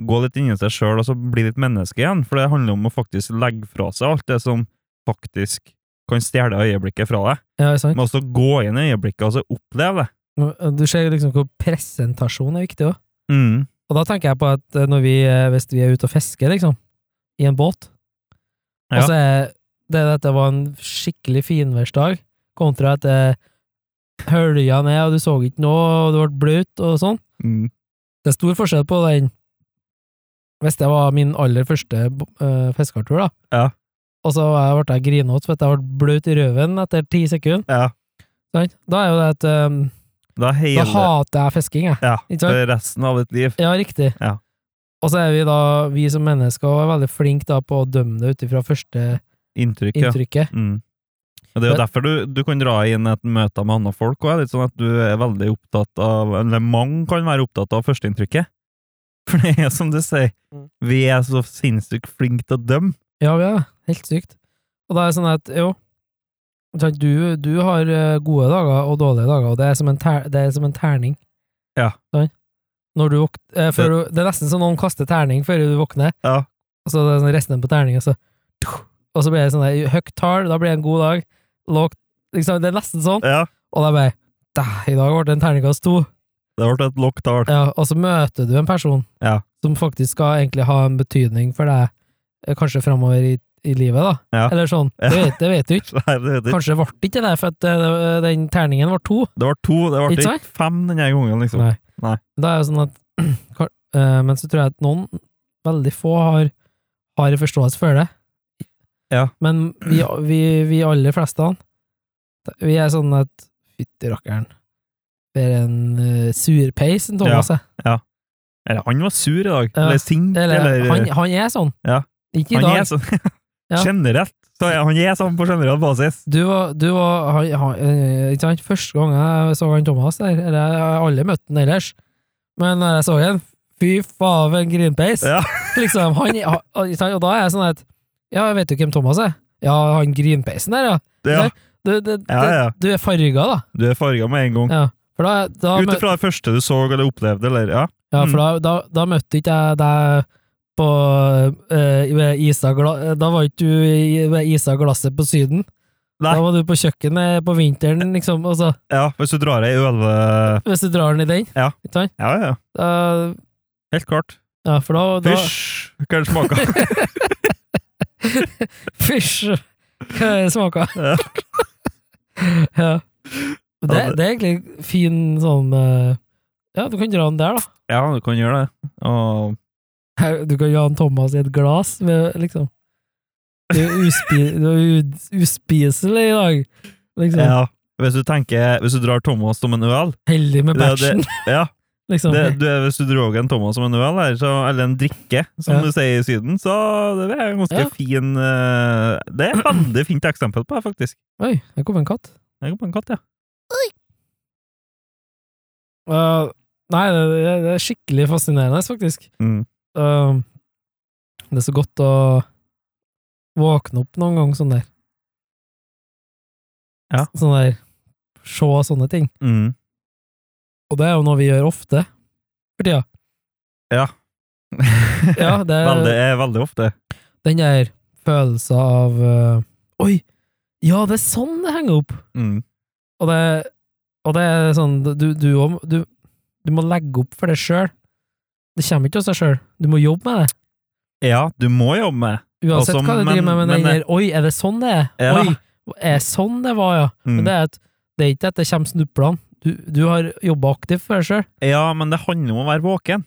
Speaker 2: gå litt inni seg sjøl og så bli litt menneske igjen. For det handler om å faktisk legge fra seg alt det som faktisk kan stjele øyeblikket fra deg.
Speaker 1: Ja, ikke sant?
Speaker 2: Men også gå inn i øyeblikket og så oppleve det.
Speaker 1: Du ser jo liksom hvor presentasjon er viktig òg.
Speaker 2: Mm.
Speaker 1: Og da tenker jeg på at eh, når vi, eh, hvis vi er ute og fisker, liksom, i en båt Og
Speaker 2: Ja.
Speaker 1: så er det at det var en skikkelig finværsdag, kontra at det hølja ned, og du så ikke noe, og du ble bløt og sånn.
Speaker 2: Mm.
Speaker 1: Det er stor forskjell på den Hvis det var min aller første uh, fisketur, da.
Speaker 2: Ja.
Speaker 1: Og så var jeg- ble jeg grinete for at jeg ble bløt i røven etter ti sekunder.
Speaker 2: Ja.
Speaker 1: sant? Da er jo det at eh,
Speaker 2: Da
Speaker 1: Da
Speaker 2: hele
Speaker 1: hater jeg fisking, jeg.
Speaker 2: ja,
Speaker 1: Ikke sant?
Speaker 2: for resten av ditt liv.
Speaker 1: Ja, riktig.
Speaker 2: Ja.
Speaker 1: Og så er vi da, vi som mennesker, er veldig flinke da på å dømme det ut ifra første
Speaker 2: Inntrykk, ja.
Speaker 1: inntrykket.
Speaker 2: Mm. Og det er jo
Speaker 1: Men-
Speaker 2: derfor du, du kan dra inn et møte med andre folk òg. Litt sånn at du er veldig opptatt av Eller mange kan være opptatt av førsteinntrykket. <laughs> For det er som du sier,
Speaker 1: Mm.
Speaker 2: vi er så sinnssykt flinke til å dømme.
Speaker 1: Ja, vi er det. Helt sykt. Og da er det sånn at, jo, ikke sant, du, du har eh, gode dager og dårlige dager, og det er som en, ter, det er som en terning.
Speaker 2: Ja.
Speaker 1: Sant? Når du våk- eh, før du, det er nesten som noen kaster terning før du våkner,
Speaker 2: Ja.
Speaker 1: og så er det sånn resten på terningen, så, og så blir det sånn der, høyt tall, da blir det en god dag, lågt, liksom, det er nesten sånn,
Speaker 2: Ja.
Speaker 1: og da bare, «Dæ, i dag ble det en terningkast to.
Speaker 2: Det ble et lågt tall.
Speaker 1: Ja, og så møter du en person
Speaker 2: Ja.
Speaker 1: som faktisk skal egentlig ha en betydning for deg, eh, kanskje framover i, i livet, da.
Speaker 2: Ja.
Speaker 1: Eller sånn.
Speaker 2: Ja.
Speaker 1: Det vet, det vet du ikke.
Speaker 2: Nei, <laughs> det, det,
Speaker 1: Kanskje ble det ikke det, for at eh, den terningen var to.
Speaker 2: det var to, det ble
Speaker 1: Ikke sant?
Speaker 2: ikke fem denne gangen, liksom.
Speaker 1: Nei.
Speaker 2: Nei.
Speaker 1: Da er det sånn at <clears throat> kan- eh, Men så tror jeg at noen, veldig få, har, har en forståelse for det.
Speaker 2: Ja.
Speaker 1: Men vi, vi, vi aller fleste, vi er sånn at Fytti rakkeren. Det er en eh, surpeis, en Thomas er.
Speaker 2: Eller han var sur i dag.
Speaker 1: Ja.
Speaker 2: Eller sint,
Speaker 1: Eller,
Speaker 2: eller,
Speaker 1: han, han er sånn.
Speaker 2: Ja.
Speaker 1: Ikke i
Speaker 2: han
Speaker 1: dag.
Speaker 2: er sånn <laughs>
Speaker 1: Ja.
Speaker 2: generelt. Så er- han er sånn på generell basis.
Speaker 1: Du var, du var han, han, eh, ikke sant? Første gang jeg så han Thomas der, eller jeg har aldri møtt han ellers, men når jeg så han, fy faen, for en grinpeis!
Speaker 2: Ja.
Speaker 1: <laughs> liksom, han, han, ikke sant? og da er jeg sånn at Ja, jeg vet jo hvem Thomas er. Ja, han grinpeisen der, ja.
Speaker 2: Det, ja.
Speaker 1: Nei. Du, du,
Speaker 2: Ja, ja.
Speaker 1: du er farga, da.
Speaker 2: Du er farga med en gang.
Speaker 1: Ja. For da, da,
Speaker 2: Ut
Speaker 1: mø-
Speaker 2: ifra det første du så eller opplevde, eller ja.
Speaker 1: ja,
Speaker 2: Mm.
Speaker 1: for da, da, da møtte ikke jeg deg på eh, ved isa gla- Da var ikke du i- ved isa glasset på Syden.
Speaker 2: Nei.
Speaker 1: Da var du på kjøkkenet på vinteren, liksom. Og så
Speaker 2: Ja, hvis du drar ei øl
Speaker 1: Hvis du drar den i den?
Speaker 2: Ja.
Speaker 1: Ikke sant?
Speaker 2: Ja, ja.
Speaker 1: Da-
Speaker 2: Helt klart.
Speaker 1: ja, for da, da
Speaker 2: Fysj! Hva er det smaker?
Speaker 1: <laughs> Fysj! Hva er det smaka?
Speaker 2: Ja.
Speaker 1: <laughs> ja. Det, det er egentlig fin sånn eh, Ja, du kan dra den der, da.
Speaker 2: <laughs> ja, du kan gjøre det. Og
Speaker 1: Her, Du kan jo ha en Thomas i et glass, med, liksom. Du er, uspi, du er u- uspiselig i dag, liksom.
Speaker 2: ja. Hvis du tenker, hvis du drar Thomas som en øl
Speaker 1: Heldig med
Speaker 2: Det- det-
Speaker 1: bæsjen,
Speaker 2: Ja,
Speaker 1: <laughs> liksom.
Speaker 2: det, du, hvis du drar en Thomas som en øl, her, så, eller en drikke, som
Speaker 1: Ja.
Speaker 2: du sier i Syden, så det er en ganske
Speaker 1: Ja.
Speaker 2: fin eh, Det er et veldig fint eksempel på det, faktisk.
Speaker 1: Oi, der kom en katt.
Speaker 2: Jeg går på en katt, ja.
Speaker 1: Eh, nei, det, det, det er skikkelig fascinerende, faktisk.
Speaker 2: Mm.
Speaker 1: Ehm, det er så godt å våkne opp noen gang sånn der.
Speaker 2: Ja.
Speaker 1: Sånn der, se sånne ting.
Speaker 2: Mm.
Speaker 1: Og det er jo noe vi gjør ofte, for tida.
Speaker 2: Ja.
Speaker 1: <laughs> Ja, det er
Speaker 2: veldig, eh, veldig ofte.
Speaker 1: den der følelsen av eh, Oi! Ja, det er sånn det henger opp!
Speaker 2: Mm.
Speaker 1: Og det, og det er sånn du, du, om- du, du må legge opp for det sjøl. Det kommer ikke av seg sjøl. Du må jobbe med det.
Speaker 2: Ja, du må jobbe med
Speaker 1: Uansett
Speaker 2: Også,
Speaker 1: hva du
Speaker 2: men-
Speaker 1: driver med, men,
Speaker 2: men-
Speaker 1: den der Oi, er det sånn det er?
Speaker 2: Ja.
Speaker 1: Oi, er det sånn det var, ja?
Speaker 2: Mm.
Speaker 1: Men det er, at, det er ikke at det kommer snuplene. Du, du har jobba aktivt for deg sjøl.
Speaker 2: Ja, men det handler om å være våken.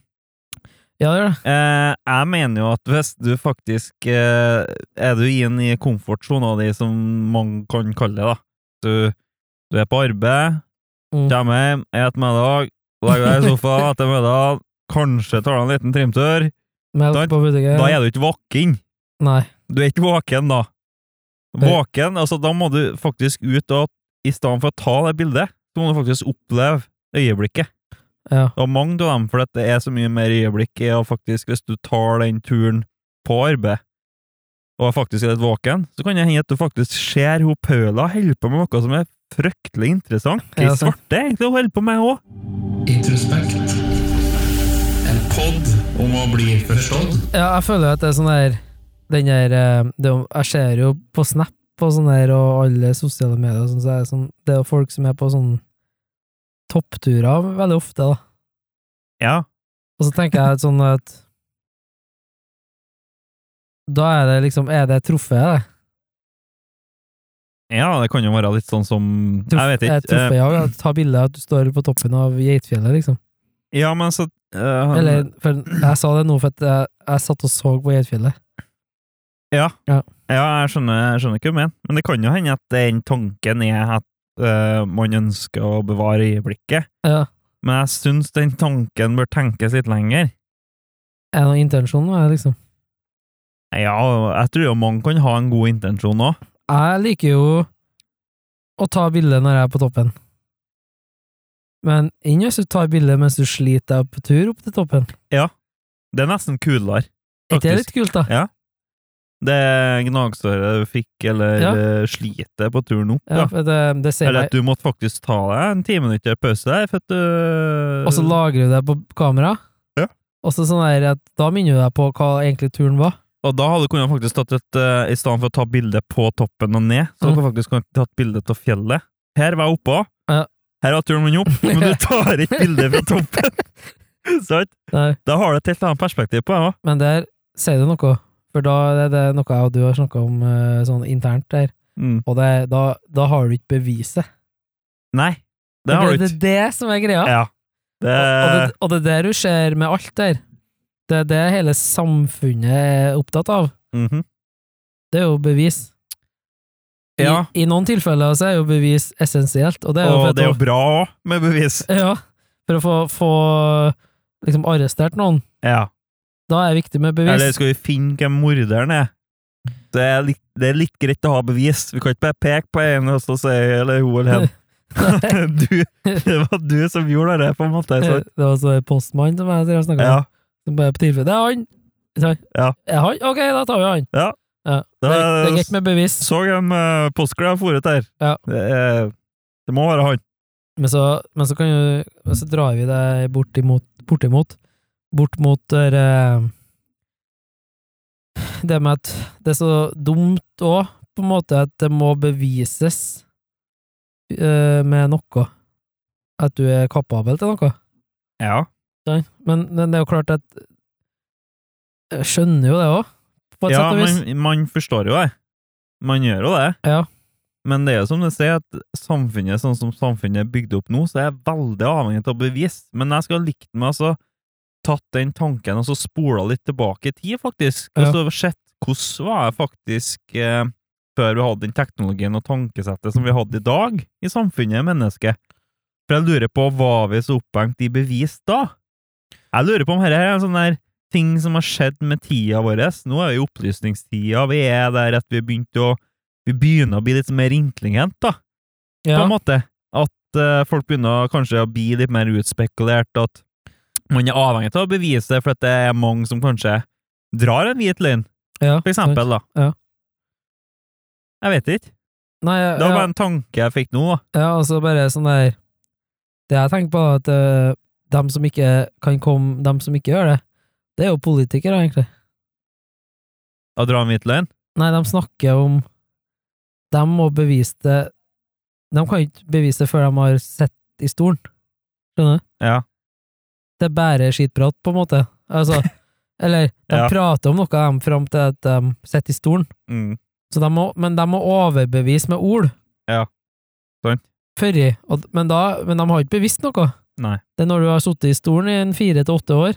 Speaker 1: Ja, det gjør det.
Speaker 2: Eh, jeg mener jo at hvis du faktisk eh, Er du inn i komfortsona di, som mange kan kalle det, da. Du, du er på arbeid,
Speaker 1: Mm.
Speaker 2: kommer hjem, et middag, legger deg i sofaen etter middagen, kanskje tar deg en liten trimtur. Da-
Speaker 1: Melk på butikken.
Speaker 2: Da er du ikke våken.
Speaker 1: Nei.
Speaker 2: Du er ikke våken da. Våken, altså da må du faktisk ut og i stedet for å ta det bildet, så må du faktisk oppleve øyeblikket.
Speaker 1: Ja.
Speaker 2: Og mange av dem, for at det er så mye mer øyeblikk, er å faktisk, hvis du tar den turen på arbeid, og faktisk er litt våken, så kan det hende at du faktisk ser hun Paula holder på med noe som er fryktelig interessant. I
Speaker 1: Ja, sant.
Speaker 2: svarte egentlig å holde på med òg.
Speaker 3: Introspekt. En podd om å bli forstått.
Speaker 1: Ja, jeg føler jo at det er sånn der Den der eh, det, er jo- Jeg ser jo på Snap og sånn der, og alle sosiale medier og sånn, så er det sånn Det er jo folk som er på sånn toppturer veldig ofte, da.
Speaker 2: Ja.
Speaker 1: Og så tenker jeg at sånn at Da er det liksom Er det trofeet, det?
Speaker 2: ja, det kan jo være litt sånn som
Speaker 1: Trof-
Speaker 2: Jeg vet
Speaker 1: er
Speaker 2: ikke. Eh,
Speaker 1: Trofeejag? at Ta bilde av at du står på toppen av Geitfjellet, liksom?
Speaker 2: Ja, men så eh,
Speaker 1: Eller for, Jeg sa det nå for at jeg, jeg satt og så på Geitfjellet.
Speaker 2: Ja,
Speaker 1: Ja.
Speaker 2: ja jeg, skjønner, jeg skjønner ikke hva du mener. Men det kan jo hende at den tanken er at eh, man ønsker å bevare øyeblikket.
Speaker 1: Ja.
Speaker 2: Men jeg syns den tanken bør tenkes litt lenger.
Speaker 1: Er det noen intensjon med det, liksom?
Speaker 2: Ja, jeg tror jo mange kan ha en god intensjon òg.
Speaker 1: Jeg liker jo å ta bilde når jeg er på toppen. Men inn hvis du tar bilde mens du sliter deg på tur opp til toppen.
Speaker 2: Det er nesten kulere.
Speaker 1: Er ikke det
Speaker 2: Faktisk.
Speaker 1: litt kult, da?
Speaker 2: Det gnagsåret du fikk, eller
Speaker 1: Ja.
Speaker 2: eh, slitet på turen opp,
Speaker 1: Ja,
Speaker 2: ja.
Speaker 1: for det, det ser
Speaker 2: Eller at
Speaker 1: meg.
Speaker 2: du måtte faktisk ta deg en ti minutter pause der, for at eh, du
Speaker 1: Og så lagrer du det på kamera.
Speaker 2: Ja.
Speaker 1: Og så sånn der at da minner du deg på hva egentlig turen var.
Speaker 2: Og da hadde du kunnet faktisk tatt et eh, I stedet for å ta bilde på toppen og ned, så hadde du faktisk kunnet tatt bilde av fjellet. Her var jeg oppå.
Speaker 1: Mhm. Ja.
Speaker 2: Her var turen min opp,
Speaker 1: <laughs>
Speaker 2: men du tar ikke bilde fra toppen! <laughs> Sant?
Speaker 1: Nei,
Speaker 2: Da har du et helt annet perspektiv på det òg.
Speaker 1: men der sier du noe. For da er det noe jeg og du har snakka om eh, sånn internt der.
Speaker 2: Mm.
Speaker 1: Og det, da, da har du ikke beviset.
Speaker 2: Nei, det har du
Speaker 1: det,
Speaker 2: ikke. Eh,
Speaker 1: det er det som er greia.
Speaker 2: Ja. Det,
Speaker 1: Og, og, det, og det er det du ser med alt der. Det er det hele samfunnet er opptatt av.
Speaker 2: Mhm.
Speaker 1: Det er jo bevis. I,
Speaker 2: Ja.
Speaker 1: I noen tilfeller så er jo bevis essensielt, og det er jo
Speaker 2: Og
Speaker 1: for,
Speaker 2: det er jo
Speaker 1: at,
Speaker 2: bra òg, med bevis.
Speaker 1: <laughs> ja, for å få, få liksom arrestert noen.
Speaker 2: Ja.
Speaker 1: Da er det viktig med bevis.
Speaker 2: Eller skal vi finne hvem morderen er? Det er, litt, det er litt greit å ha bevis. Vi kan ikke bare peke på en og så si eller hun
Speaker 1: <laughs>
Speaker 2: eller hen. Du, det var du som gjorde det, på en måte. Så,
Speaker 1: Eh, det var så en postmann som jeg drev og snakka
Speaker 2: ja,
Speaker 1: om. Som bare på tilfelle Det er han! Så,
Speaker 2: Ja.
Speaker 1: Er han? Ok, da tar vi han.
Speaker 2: Ja.
Speaker 1: Det, er, det er greit med bevis.
Speaker 2: så hvem uh, Postkla foret der.
Speaker 1: Ja.
Speaker 2: Det, er, det må være han.
Speaker 1: Men så, men så kan jo men Så drar vi det bortimot Bortimot Bort mot det der, eh, Det med at det er så dumt òg, på en måte, at det må bevises eh, med noe. At du er kapabel til noe.
Speaker 2: Ja.
Speaker 1: Sant? Men, men det er jo klart at Jeg skjønner jo det òg, på et
Speaker 2: ja,
Speaker 1: sett og vis.
Speaker 2: man, man forstår jo det. Man gjør jo det.
Speaker 1: Ja.
Speaker 2: Men det er jo som du sier, at samfunnet, sånn som samfunnet er bygd opp nå, så er jeg veldig avhengig av bevis. Men jeg skulle ha likt meg altså tatt den tanken og så spola litt tilbake i tid, faktisk. Og
Speaker 1: Ja.
Speaker 2: så sett hvordan var jeg faktisk eh, før vi hadde den teknologien og tankesettet som vi hadde i dag i samfunnet, mennesket. For jeg lurer på, var vi så opphengt i bevis da? Jeg lurer på om dette her er en sånn der ting som har skjedd med tida vår. Nå er vi i opplysningstida, vi er der at vi begynte å vi begynner å bli litt mer intelligent, da, på
Speaker 1: Ja.
Speaker 2: en måte. At eh, folk begynner kanskje å bli litt mer utspekulert, at man er avhengig av å bevise det, for at det er mange som kanskje drar en hvit løgn,
Speaker 1: ja,
Speaker 2: for eksempel, da.
Speaker 1: Ja.
Speaker 2: Jeg vet ikke.
Speaker 1: Nei, ja,
Speaker 2: Det var bare en tanke jeg fikk nå, da.
Speaker 1: Ja, og så bare sånn der Det jeg tenker på, er at eh, dem som ikke kan komme, dem som ikke gjør det, det er jo politikere, egentlig.
Speaker 2: Å dra en hvit løgn.
Speaker 1: Nei, de snakker om De må bevise det De kan ikke bevise det før de har sett i stolen. Skjønner du?
Speaker 2: Ja.
Speaker 1: Det er bare skitprat, på en måte.
Speaker 2: <laughs>
Speaker 1: Altså, eller de
Speaker 2: Ja.
Speaker 1: prater om noe dem fram til at de sitter i stolen,
Speaker 2: Mm.
Speaker 1: så de må, men de må overbevise med ord.
Speaker 2: Ja. Sant.
Speaker 1: Førri. Og- Men, da- men de har ikke bevisst noe.
Speaker 2: Nei.
Speaker 1: Det er når du har sittet i stolen i en fire til åtte år.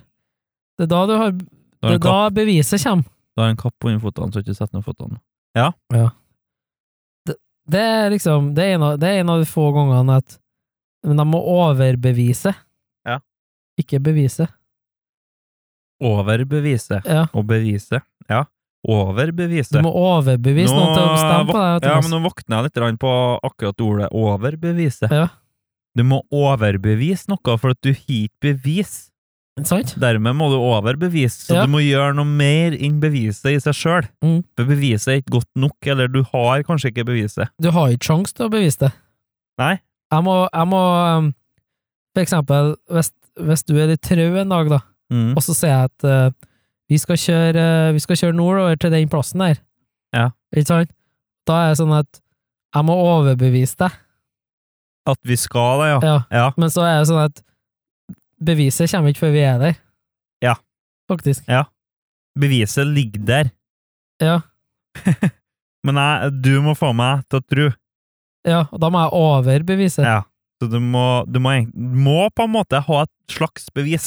Speaker 1: Det er da, du har, det
Speaker 2: Da har
Speaker 1: er
Speaker 2: en
Speaker 1: da
Speaker 2: kapp,
Speaker 1: beviset kommer.
Speaker 2: da har en kapp under føttene, så ikke sett ned føttene.
Speaker 1: Det er liksom det er, en av, det er en av de få gangene at Men de må overbevise.
Speaker 2: Ja.
Speaker 1: Ikke bevise.
Speaker 2: Overbevise.
Speaker 1: Ja.
Speaker 2: Og bevise. Ja.
Speaker 1: Du
Speaker 2: Overbevise.
Speaker 1: må overbevise
Speaker 2: Nå
Speaker 1: noen til å stemme på deg.
Speaker 2: Ja,
Speaker 1: Thomas.
Speaker 2: men nå våkner jeg litt grann på akkurat ordet overbevise.
Speaker 1: Ja.
Speaker 2: Du må overbevise noe, for at du har ikke bevis.
Speaker 1: Sant?
Speaker 2: Dermed må du overbevise, så
Speaker 1: Ja.
Speaker 2: du må gjøre noe mer enn beviset i seg sjøl.
Speaker 1: Mm.
Speaker 2: For beviset er ikke godt nok, eller du har kanskje ikke beviset.
Speaker 1: Du har ikke sjanse til å bevise det.
Speaker 2: Nei.
Speaker 1: Jeg må, jeg må um, For eksempel, hvis, hvis du er litt trau en dag, da,
Speaker 2: Mm.
Speaker 1: og så sier jeg at eh, vi, skal kjøre, eh, vi skal kjøre nordover til den plassen der.
Speaker 2: Ja.
Speaker 1: Ikke sant? Da er det sånn at jeg må overbevise deg,
Speaker 2: At vi skal det, ja.
Speaker 1: ja.
Speaker 2: Ah, Ja.
Speaker 1: men så er det sånn at beviset kommer ikke før vi er der.
Speaker 2: Ja.
Speaker 1: Faktisk.
Speaker 2: Beviset ligger der.
Speaker 1: Ja.
Speaker 2: <laughs> Men jeg, du må få meg til å tro.
Speaker 1: Ja, og da må jeg overbevise.
Speaker 2: Ja. Så du må, du, må, egent- du må på en måte ha et slags bevis.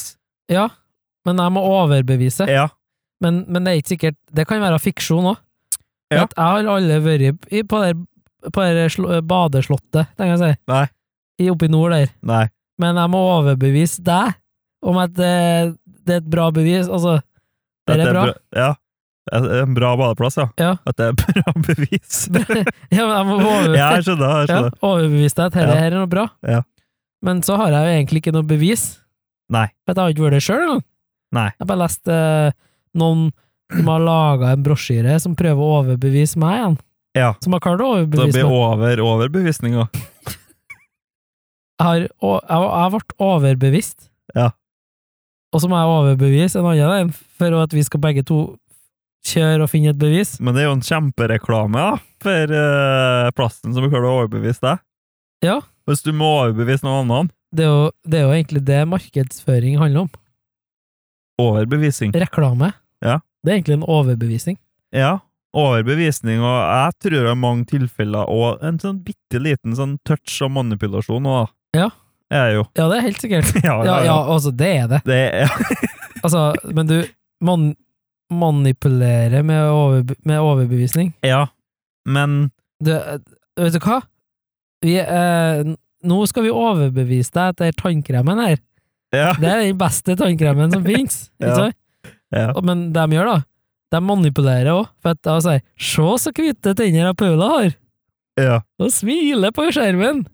Speaker 1: Ja, men jeg må overbevise.
Speaker 2: Ja.
Speaker 1: Men, men det er ikke sikkert Det kan være fiksjon òg.
Speaker 2: Ja.
Speaker 1: Jeg har aldri vært i- på det på det sl- badeslottet, tenker jeg å si,
Speaker 2: Nei.
Speaker 1: I- oppe i nord der.
Speaker 2: Nei.
Speaker 1: Men jeg må overbevise deg om at det, det er et bra bevis. Altså, det
Speaker 2: At
Speaker 1: er bra.
Speaker 2: Ja. Det er En bra badeplass, ja.
Speaker 1: Ja.
Speaker 2: At det er bra <laughs>
Speaker 1: <laughs>
Speaker 2: bevis.
Speaker 1: <laughs> Ja, men jeg
Speaker 2: <laughs>
Speaker 1: må overbevise,
Speaker 2: Ja, jeg skjønner. Jeg
Speaker 1: ja,
Speaker 2: skjønner.
Speaker 1: overbevise deg at dette
Speaker 2: Ja.
Speaker 1: her er noe bra.
Speaker 2: Ja.
Speaker 1: Men så har jeg jo egentlig ikke noe bevis.
Speaker 2: Nei.
Speaker 1: For jeg har ikke vært det sjøl engang.
Speaker 2: Nei.
Speaker 1: Jeg har bare lest eh, noen som har laga en brosjyre som prøver å overbevise meg igjen.
Speaker 2: Ja.
Speaker 1: Som har klart å
Speaker 2: Så det
Speaker 1: overbevise
Speaker 2: blir
Speaker 1: meg.
Speaker 2: over overbevisninga.
Speaker 1: Jeg, har, å- jeg, jeg ble overbevist.
Speaker 2: Ja.
Speaker 1: Og så må jeg overbevise en annen en for at vi skal begge to kjøre og finne et bevis.
Speaker 2: Men det er jo en kjempereklame da, for eh, plassen som klarer å overbevise deg.
Speaker 1: Ja.
Speaker 2: Hvis du må overbevise noen annen.
Speaker 1: Det er jo, det er jo egentlig det markedsføring handler om.
Speaker 2: Overbevisning.
Speaker 1: Reklame.
Speaker 2: Ja.
Speaker 1: Det er egentlig en overbevisning.
Speaker 2: Ja. Overbevisning, og jeg tror det er mange tilfeller, og en sånn bitte liten sånn touch av manipulasjon også.
Speaker 1: Ja.
Speaker 2: Er jo. <laughs>
Speaker 1: Ja, det er helt sikkert.
Speaker 2: Ja,
Speaker 1: Ja, ja, altså, det er det.
Speaker 2: Det er,
Speaker 1: Altså, men du man, manipulerer med, overbe med overbevisning.
Speaker 2: ja. Men
Speaker 1: Du, eh, vet du hva? Vi, eh, n- nå skal vi overbevise deg at det er tannkremen her.
Speaker 2: Ja.
Speaker 1: Det er den beste tannkremen som finnes.
Speaker 2: Ja.
Speaker 1: ikke sant?
Speaker 2: Ja.
Speaker 1: Og- Men det de gjør, da, de manipulerer òg. For at de sier 'se så hvite tenner Paula har',
Speaker 2: Ja.
Speaker 1: og smiler på skjermen.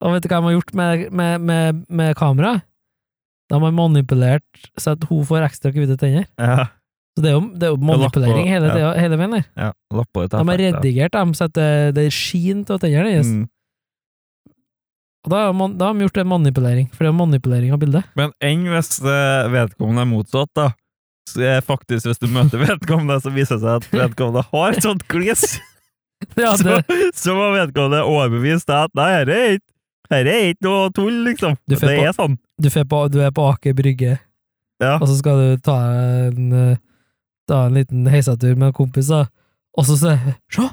Speaker 1: Og vet du hva de har gjort med, med, med, med kameraet? De har manipulert så at hun får ekstra hvite tenner.
Speaker 2: ja.
Speaker 1: Så det er jo, det er jo
Speaker 2: har lagt på-
Speaker 1: manipulering hele,
Speaker 2: ja.
Speaker 1: tida- hele veien. der.
Speaker 2: ja. Lapp på det.
Speaker 1: De har redigert dem så at det, det skinner av tennene deres.
Speaker 2: Mm.
Speaker 1: Og da har, man, da har de gjort en manipulering, for det er manipulering av
Speaker 2: <laughs>
Speaker 1: bildet.
Speaker 2: Men enn hvis eh, vedkommende er motsatt, da. Så er faktisk, hvis du møter <laughs> vedkommende, så viser det seg at vedkommende har et sånt glis.
Speaker 1: <laughs> Ja,
Speaker 2: Så,
Speaker 1: det,
Speaker 2: så må vedkommende overbevise deg at nei, dette er ikke her er ikke noe tull, liksom.
Speaker 1: Du
Speaker 2: Det
Speaker 1: får på-
Speaker 2: er sånn.
Speaker 1: du, fer på, du er på Aker Brygge,
Speaker 2: Ja.
Speaker 1: og så skal du ta en, eh, ta en liten heisatur med kompiser, og så sier jeg, Se!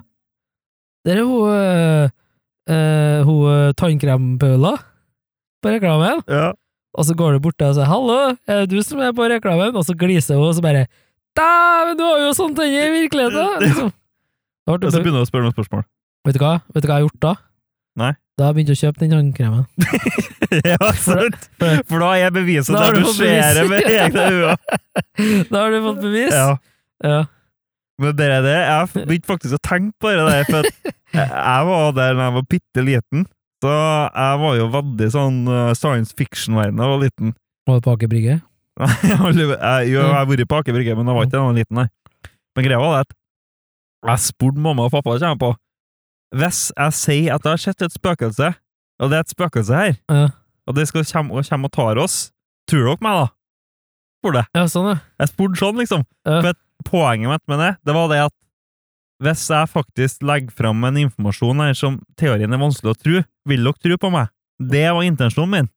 Speaker 1: Der er hun eh, eh, Hun eh, tannkrempøla på reklamen.
Speaker 2: Ja.
Speaker 1: Og så går du bort til henne og sier 'hallo, er det du som er på reklamen?' Og så gliser hun, og så bare 'dæven, du har jo sånne tenner i virkeligheten'. Liksom. Da ble
Speaker 2: Og
Speaker 1: det-
Speaker 2: så begynner du å spørre noen spørsmål. <laughs>
Speaker 1: Vet du hva Vet du hva jeg har gjort da?
Speaker 2: Nei.
Speaker 1: Da har jeg begynt å kjøpe den
Speaker 2: <laughs>
Speaker 1: håndkremen.
Speaker 2: ja, sant. For da er beviset
Speaker 1: Da har du
Speaker 2: der du
Speaker 1: fått bevis.
Speaker 2: ser det
Speaker 1: <laughs>
Speaker 2: med egne øyne.
Speaker 1: Da har du fått bevis!
Speaker 2: Ja.
Speaker 1: Ja.
Speaker 2: Men det er det. Jeg begynte faktisk å tenke på det der, for at jeg var der da jeg var bitte liten. Så jeg var jo veldig sånn eh, science fiction-verden da jeg var liten. <laughs>
Speaker 1: Må du på Aker Brygge?
Speaker 2: Nei, jeg har aldri- jeg- jo, jeg har vært på Aker Brygge, men jeg var ikke da jeg var liten, nei. Men greia var det at jeg spurte mamma og pappa, kommer jeg på, hvis jeg sier at jeg har sett et spøkelse, og det er et spøkelse her,
Speaker 1: Ja.
Speaker 2: og det skal komme og, komme og tar oss, tror dere meg da? Spurte jeg.
Speaker 1: ja, sånn, ja.
Speaker 2: Jeg spurte sånn, liksom.
Speaker 1: Ja.
Speaker 2: For at poenget mitt med det, det var det at hvis jeg faktisk legger fram en informasjon her som teorien er vanskelig å tro, vil dere tro på meg? Det var intensjonen min.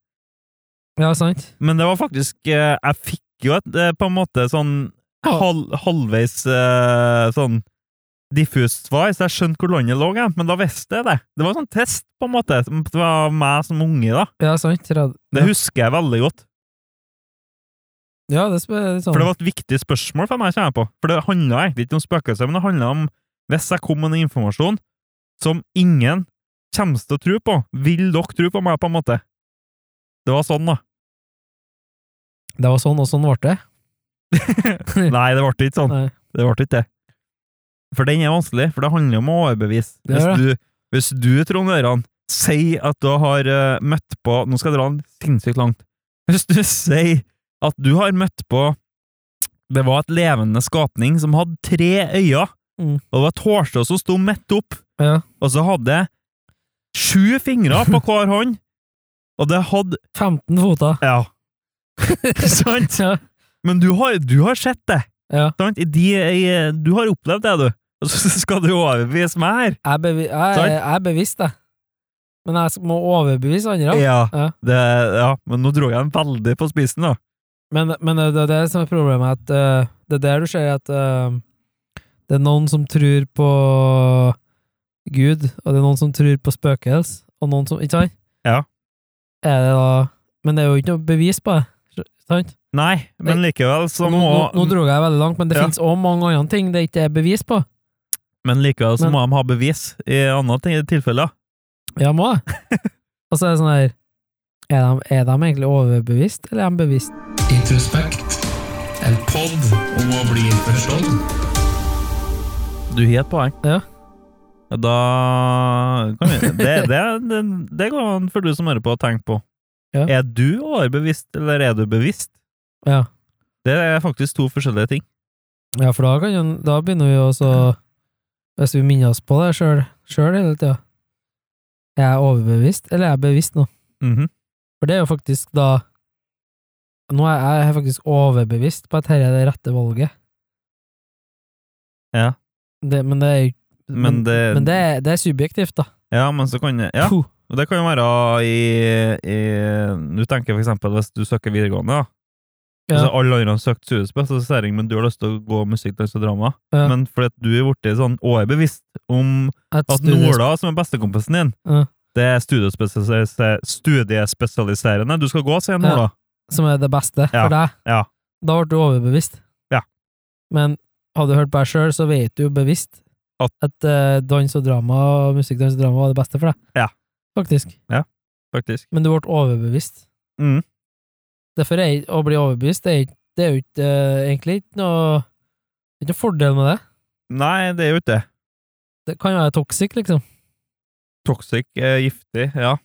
Speaker 1: Ja, sant.
Speaker 2: Men det var faktisk eh, Jeg fikk jo et eh, på en måte sånn
Speaker 1: Ja.
Speaker 2: hal halvveis eh, sånn diffust svar, så jeg skjønte hvor landet lå, jeg. men da visste jeg det. Det var en sånn test, på en måte. som- Det var meg som unge, da.
Speaker 1: Ja, sant. Rad-
Speaker 2: Det husker jeg veldig godt.
Speaker 1: Ja, det spør litt sånn.
Speaker 2: For det var et viktig spørsmål for meg, kjenner jeg på. For det handla egentlig ikke om spøkelser, men det handla om hvis jeg kom med en informasjon som ingen kommer til å tro på, vil dere tro på meg, på en måte? Det var sånn, da.
Speaker 1: det var sånn, og sånn ble det.
Speaker 2: Nei, det ble ikke sånn.
Speaker 1: Nei.
Speaker 2: Det ble ikke det. For den er vanskelig, for det handler om å overbevise.
Speaker 1: Det
Speaker 2: Hvis
Speaker 1: gjør
Speaker 2: du, hvis du Trond Øran, sier at du har eh, møtt på Nå skal jeg dra den sinnssykt langt. Hvis du sier at du har møtt på Det var et levende skapning som hadde tre øyne,
Speaker 1: Mm.
Speaker 2: og det var et hårstrå som sto midt opp,
Speaker 1: Ja.
Speaker 2: og så hadde Sju fingre på hver hånd! Og det hadde
Speaker 1: 15
Speaker 2: <laughs>
Speaker 1: foter.
Speaker 2: Ja. sant?
Speaker 1: Ja.
Speaker 2: Men du har, du har sett det.
Speaker 1: Ja.
Speaker 2: Sant? I de, i, du har opplevd det, du. Og så <laughs> skal du overbevise meg her.
Speaker 1: Jeg, er bevi jeg,
Speaker 2: Sant?
Speaker 1: jeg er bevisst, jeg. Men jeg må overbevise andre. Ja.
Speaker 2: Det, ja. Men nå dro jeg den veldig på spissen, da.
Speaker 1: Men, men eh, det det er det som er problemet, at eh, det er der du ser at eh, det er noen som tror på Gud, og det er noen som tror på spøkels, og noen som Ikke sant?
Speaker 2: Ja.
Speaker 1: Er det da Men det er jo ikke noe bevis på det. Sant?
Speaker 2: Nei, men likevel så
Speaker 1: Nå,
Speaker 2: må
Speaker 1: nå, nå dro jeg veldig langt, men det
Speaker 2: Ja.
Speaker 1: finnes òg mange andre ting det ikke er bevis på.
Speaker 2: Men likevel så
Speaker 1: Men-
Speaker 2: må de ha bevis i andre ting- tilfeller.
Speaker 1: Ja, må jeg.
Speaker 2: <laughs>
Speaker 1: Og så er det sånn her er de, er de egentlig overbevist, eller er de bevisst?
Speaker 3: Introspekt. En podd om å bli forstått.
Speaker 2: Du har et poeng.
Speaker 1: Ja.
Speaker 2: Da
Speaker 1: <laughs>
Speaker 2: kan vi, det, det, det, det går an for du som hører på å tenke på.
Speaker 1: Ja.
Speaker 2: Er du overbevist, eller er du bevisst?
Speaker 1: Ja.
Speaker 2: Det er faktisk to forskjellige ting.
Speaker 1: Ja, for da, kan, jo- da begynner vi jo også Hvis vi minner oss på det sjøl hele tida Er jeg overbevist, eller er jeg bevisst nå?
Speaker 2: Mhm.
Speaker 1: For det er jo faktisk da Nå er jeg jeg er faktisk overbevist på at dette er det rette valget.
Speaker 2: Ja.
Speaker 1: Det, men det er jo
Speaker 2: Men det-
Speaker 1: men det, er, det er subjektivt, da.
Speaker 2: Ja, men så kan Ja,
Speaker 1: Puh.
Speaker 2: og det kan jo være i, i Du tenker for eksempel hvis du søker videregående, da.
Speaker 1: Ja.
Speaker 2: Altså, alle andre har søkt studiespesialisering, men du har lyst til å gå musikk, dans og drama.
Speaker 1: Ja.
Speaker 2: Men fordi at du er blitt sånn overbevist om at
Speaker 1: studies-
Speaker 2: Nola, som er bestekompisen din,
Speaker 1: Ja.
Speaker 2: det er studiespesialise- studiespesialiserende du skal gå, sier Nola.
Speaker 1: som er det beste
Speaker 2: Ja,
Speaker 1: for deg.
Speaker 2: ja.
Speaker 1: Da ble du overbevist.
Speaker 2: Ja.
Speaker 1: Men hadde du hørt på deg sjøl, så vet du jo bevisst
Speaker 2: At-
Speaker 1: at, eh, dans og drama og musikk, dans og drama var det beste for deg.
Speaker 2: Ja.
Speaker 1: Faktisk.
Speaker 2: Faktisk.
Speaker 1: Men du ble overbevist.
Speaker 2: Mm.
Speaker 1: Derfor er å bli overbevist det er, ikke- det er jo ikke, eh, egentlig ikke noe det er ikke noe fordel med det.
Speaker 2: Nei, det er jo ikke det.
Speaker 1: Det kan være toxic, liksom.
Speaker 2: Toxic er giftig, ja.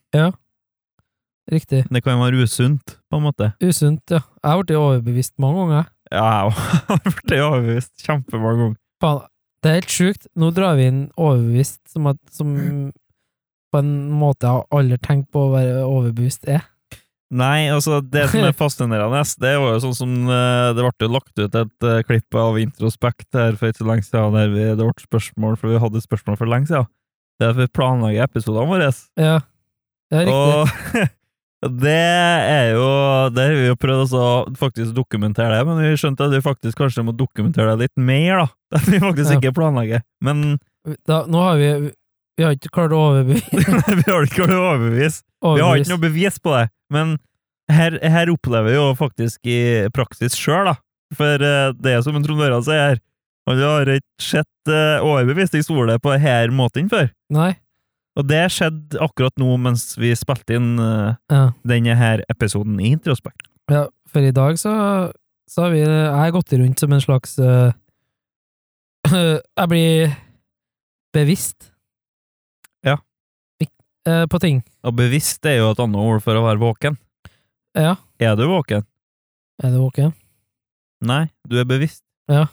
Speaker 1: Riktig.
Speaker 2: Det kan være usunt, på en måte.
Speaker 1: Usunt, ja. Jeg har blitt overbevist mange ganger. jeg.
Speaker 2: Ja, jeg har <laughs> blitt overbevist kjempemange ganger.
Speaker 1: Faen, det er helt sjukt. Nå drar vi inn overbevist som, at, som på en måte jeg aldri har tenkt på å være overbevist er.
Speaker 2: Nei, altså det som
Speaker 1: <laughs>
Speaker 2: er fascinerende, det var jo sånn som eh, Det ble jo lagt ut et eh, klipp av Introspekt her for ikke så lenge siden, der vi, det ble spørsmål, for vi hadde et spørsmål for lenge siden. Det er for vi planlegger episodene våre.
Speaker 1: Ja, det er riktig.
Speaker 2: Og <laughs> det er jo Det har vi jo prøvd også å faktisk dokumentere det, men vi skjønte at vi faktisk kanskje må dokumentere det litt mer, da. <laughs> At vi faktisk
Speaker 1: Ja.
Speaker 2: ikke planlegger. Men <laughs>
Speaker 1: Da, nå har vi Vi har ikke klart å overbevise.
Speaker 2: vi har ikke klart å overbevise. Vi har ikke noe bevis på det, men her, her opplever vi jo faktisk i praksis sjøl, da. For eh, det er som en Trond Øran sier her, han har ikke sett eh, overbevisningsordet på denne måten før.
Speaker 1: Nei.
Speaker 2: Og det skjedde akkurat nå mens vi spilte inn eh,
Speaker 1: Ja.
Speaker 2: denne her episoden i Introspekt.
Speaker 1: ja, for i dag så, så har vi Jeg har gått rundt som en slags eh, <clears throat> Jeg blir bevisst.
Speaker 2: Ja.
Speaker 1: Ik eh, på ting.
Speaker 2: Og bevisst er jo et annet ord for å være våken.
Speaker 1: Ja.
Speaker 2: Er du våken?
Speaker 1: Er du våken?
Speaker 2: Nei, du er bevisst.
Speaker 1: Ja.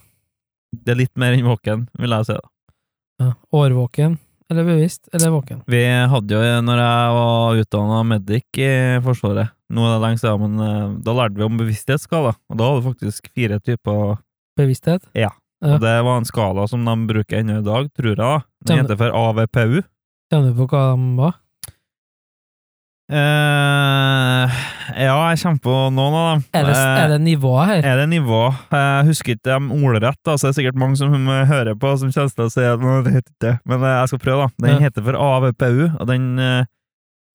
Speaker 2: Det er litt mer enn våken, vil jeg si. da.
Speaker 1: Ja. Årvåken? Eller bevisst? Eller våken?
Speaker 2: Vi hadde jo, når jeg var utdanna medic i Forsvaret Nå er det lenge siden, men eh, da lærte vi om bevissthetsskala. Og da hadde vi faktisk fire typer.
Speaker 1: Bevissthet? Ja.
Speaker 2: Og det var en skala som de bruker ennå i dag, tror jeg. da. Den
Speaker 1: Stemmer.
Speaker 2: heter for AVPU.
Speaker 1: Kjenner du på hva de var?
Speaker 2: Eh, ja, jeg kommer på noen av dem.
Speaker 1: Er det, er det nivået her?
Speaker 2: Eh, er det nivå? Jeg husker ikke dem ordrett, da, så det er sikkert mange som <laughs> eh, hører på som kjenner til å si at «Nå, det heter ikke det. Men eh, jeg skal prøve, da. Den
Speaker 1: Ja.
Speaker 2: heter for AVPU, og den eh,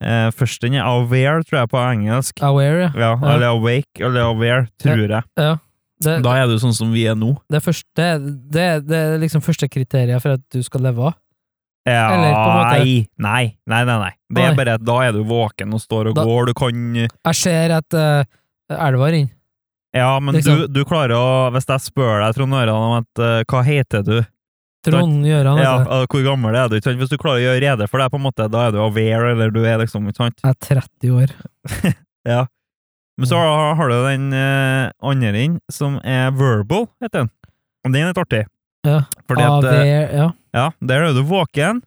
Speaker 2: eh, første den er aware, tror jeg, på engelsk.
Speaker 1: Aware, ja.
Speaker 2: Ja, eller awake, eller aware, tror jeg.
Speaker 1: Det,
Speaker 2: Da er du sånn som vi er nå.
Speaker 1: det, første, det, det er liksom første kriteriet for at du skal leve av.
Speaker 2: Ja,
Speaker 1: Eller på en måte-
Speaker 2: Nei, nei, nei, nei, nei. Det
Speaker 1: Nei.
Speaker 2: er bare at da er du våken og står og
Speaker 1: Da-
Speaker 2: går, du kan
Speaker 1: Jeg ser at uh, elva renner.
Speaker 2: Ja, men
Speaker 1: Liksom.
Speaker 2: du, du klarer å Hvis jeg spør deg, Trond Øran, om at eh, hva heter du?
Speaker 1: Trond Gjøran,
Speaker 2: Ja,
Speaker 1: heter det.
Speaker 2: eh, hvor gammel er du? Ikke sant? Hvis du klarer å gjøre rede for deg, på en måte, da er du aware, eller du er liksom ikke sant?
Speaker 1: Jeg er 30 år.
Speaker 2: Men
Speaker 1: Mm.
Speaker 2: så har har du den eh, andre inn, som er verbal, heter den. Og den er litt artig.
Speaker 1: Ja,
Speaker 2: Fordi at, eh,
Speaker 1: Aware, ja.
Speaker 2: Ja, der er du våken,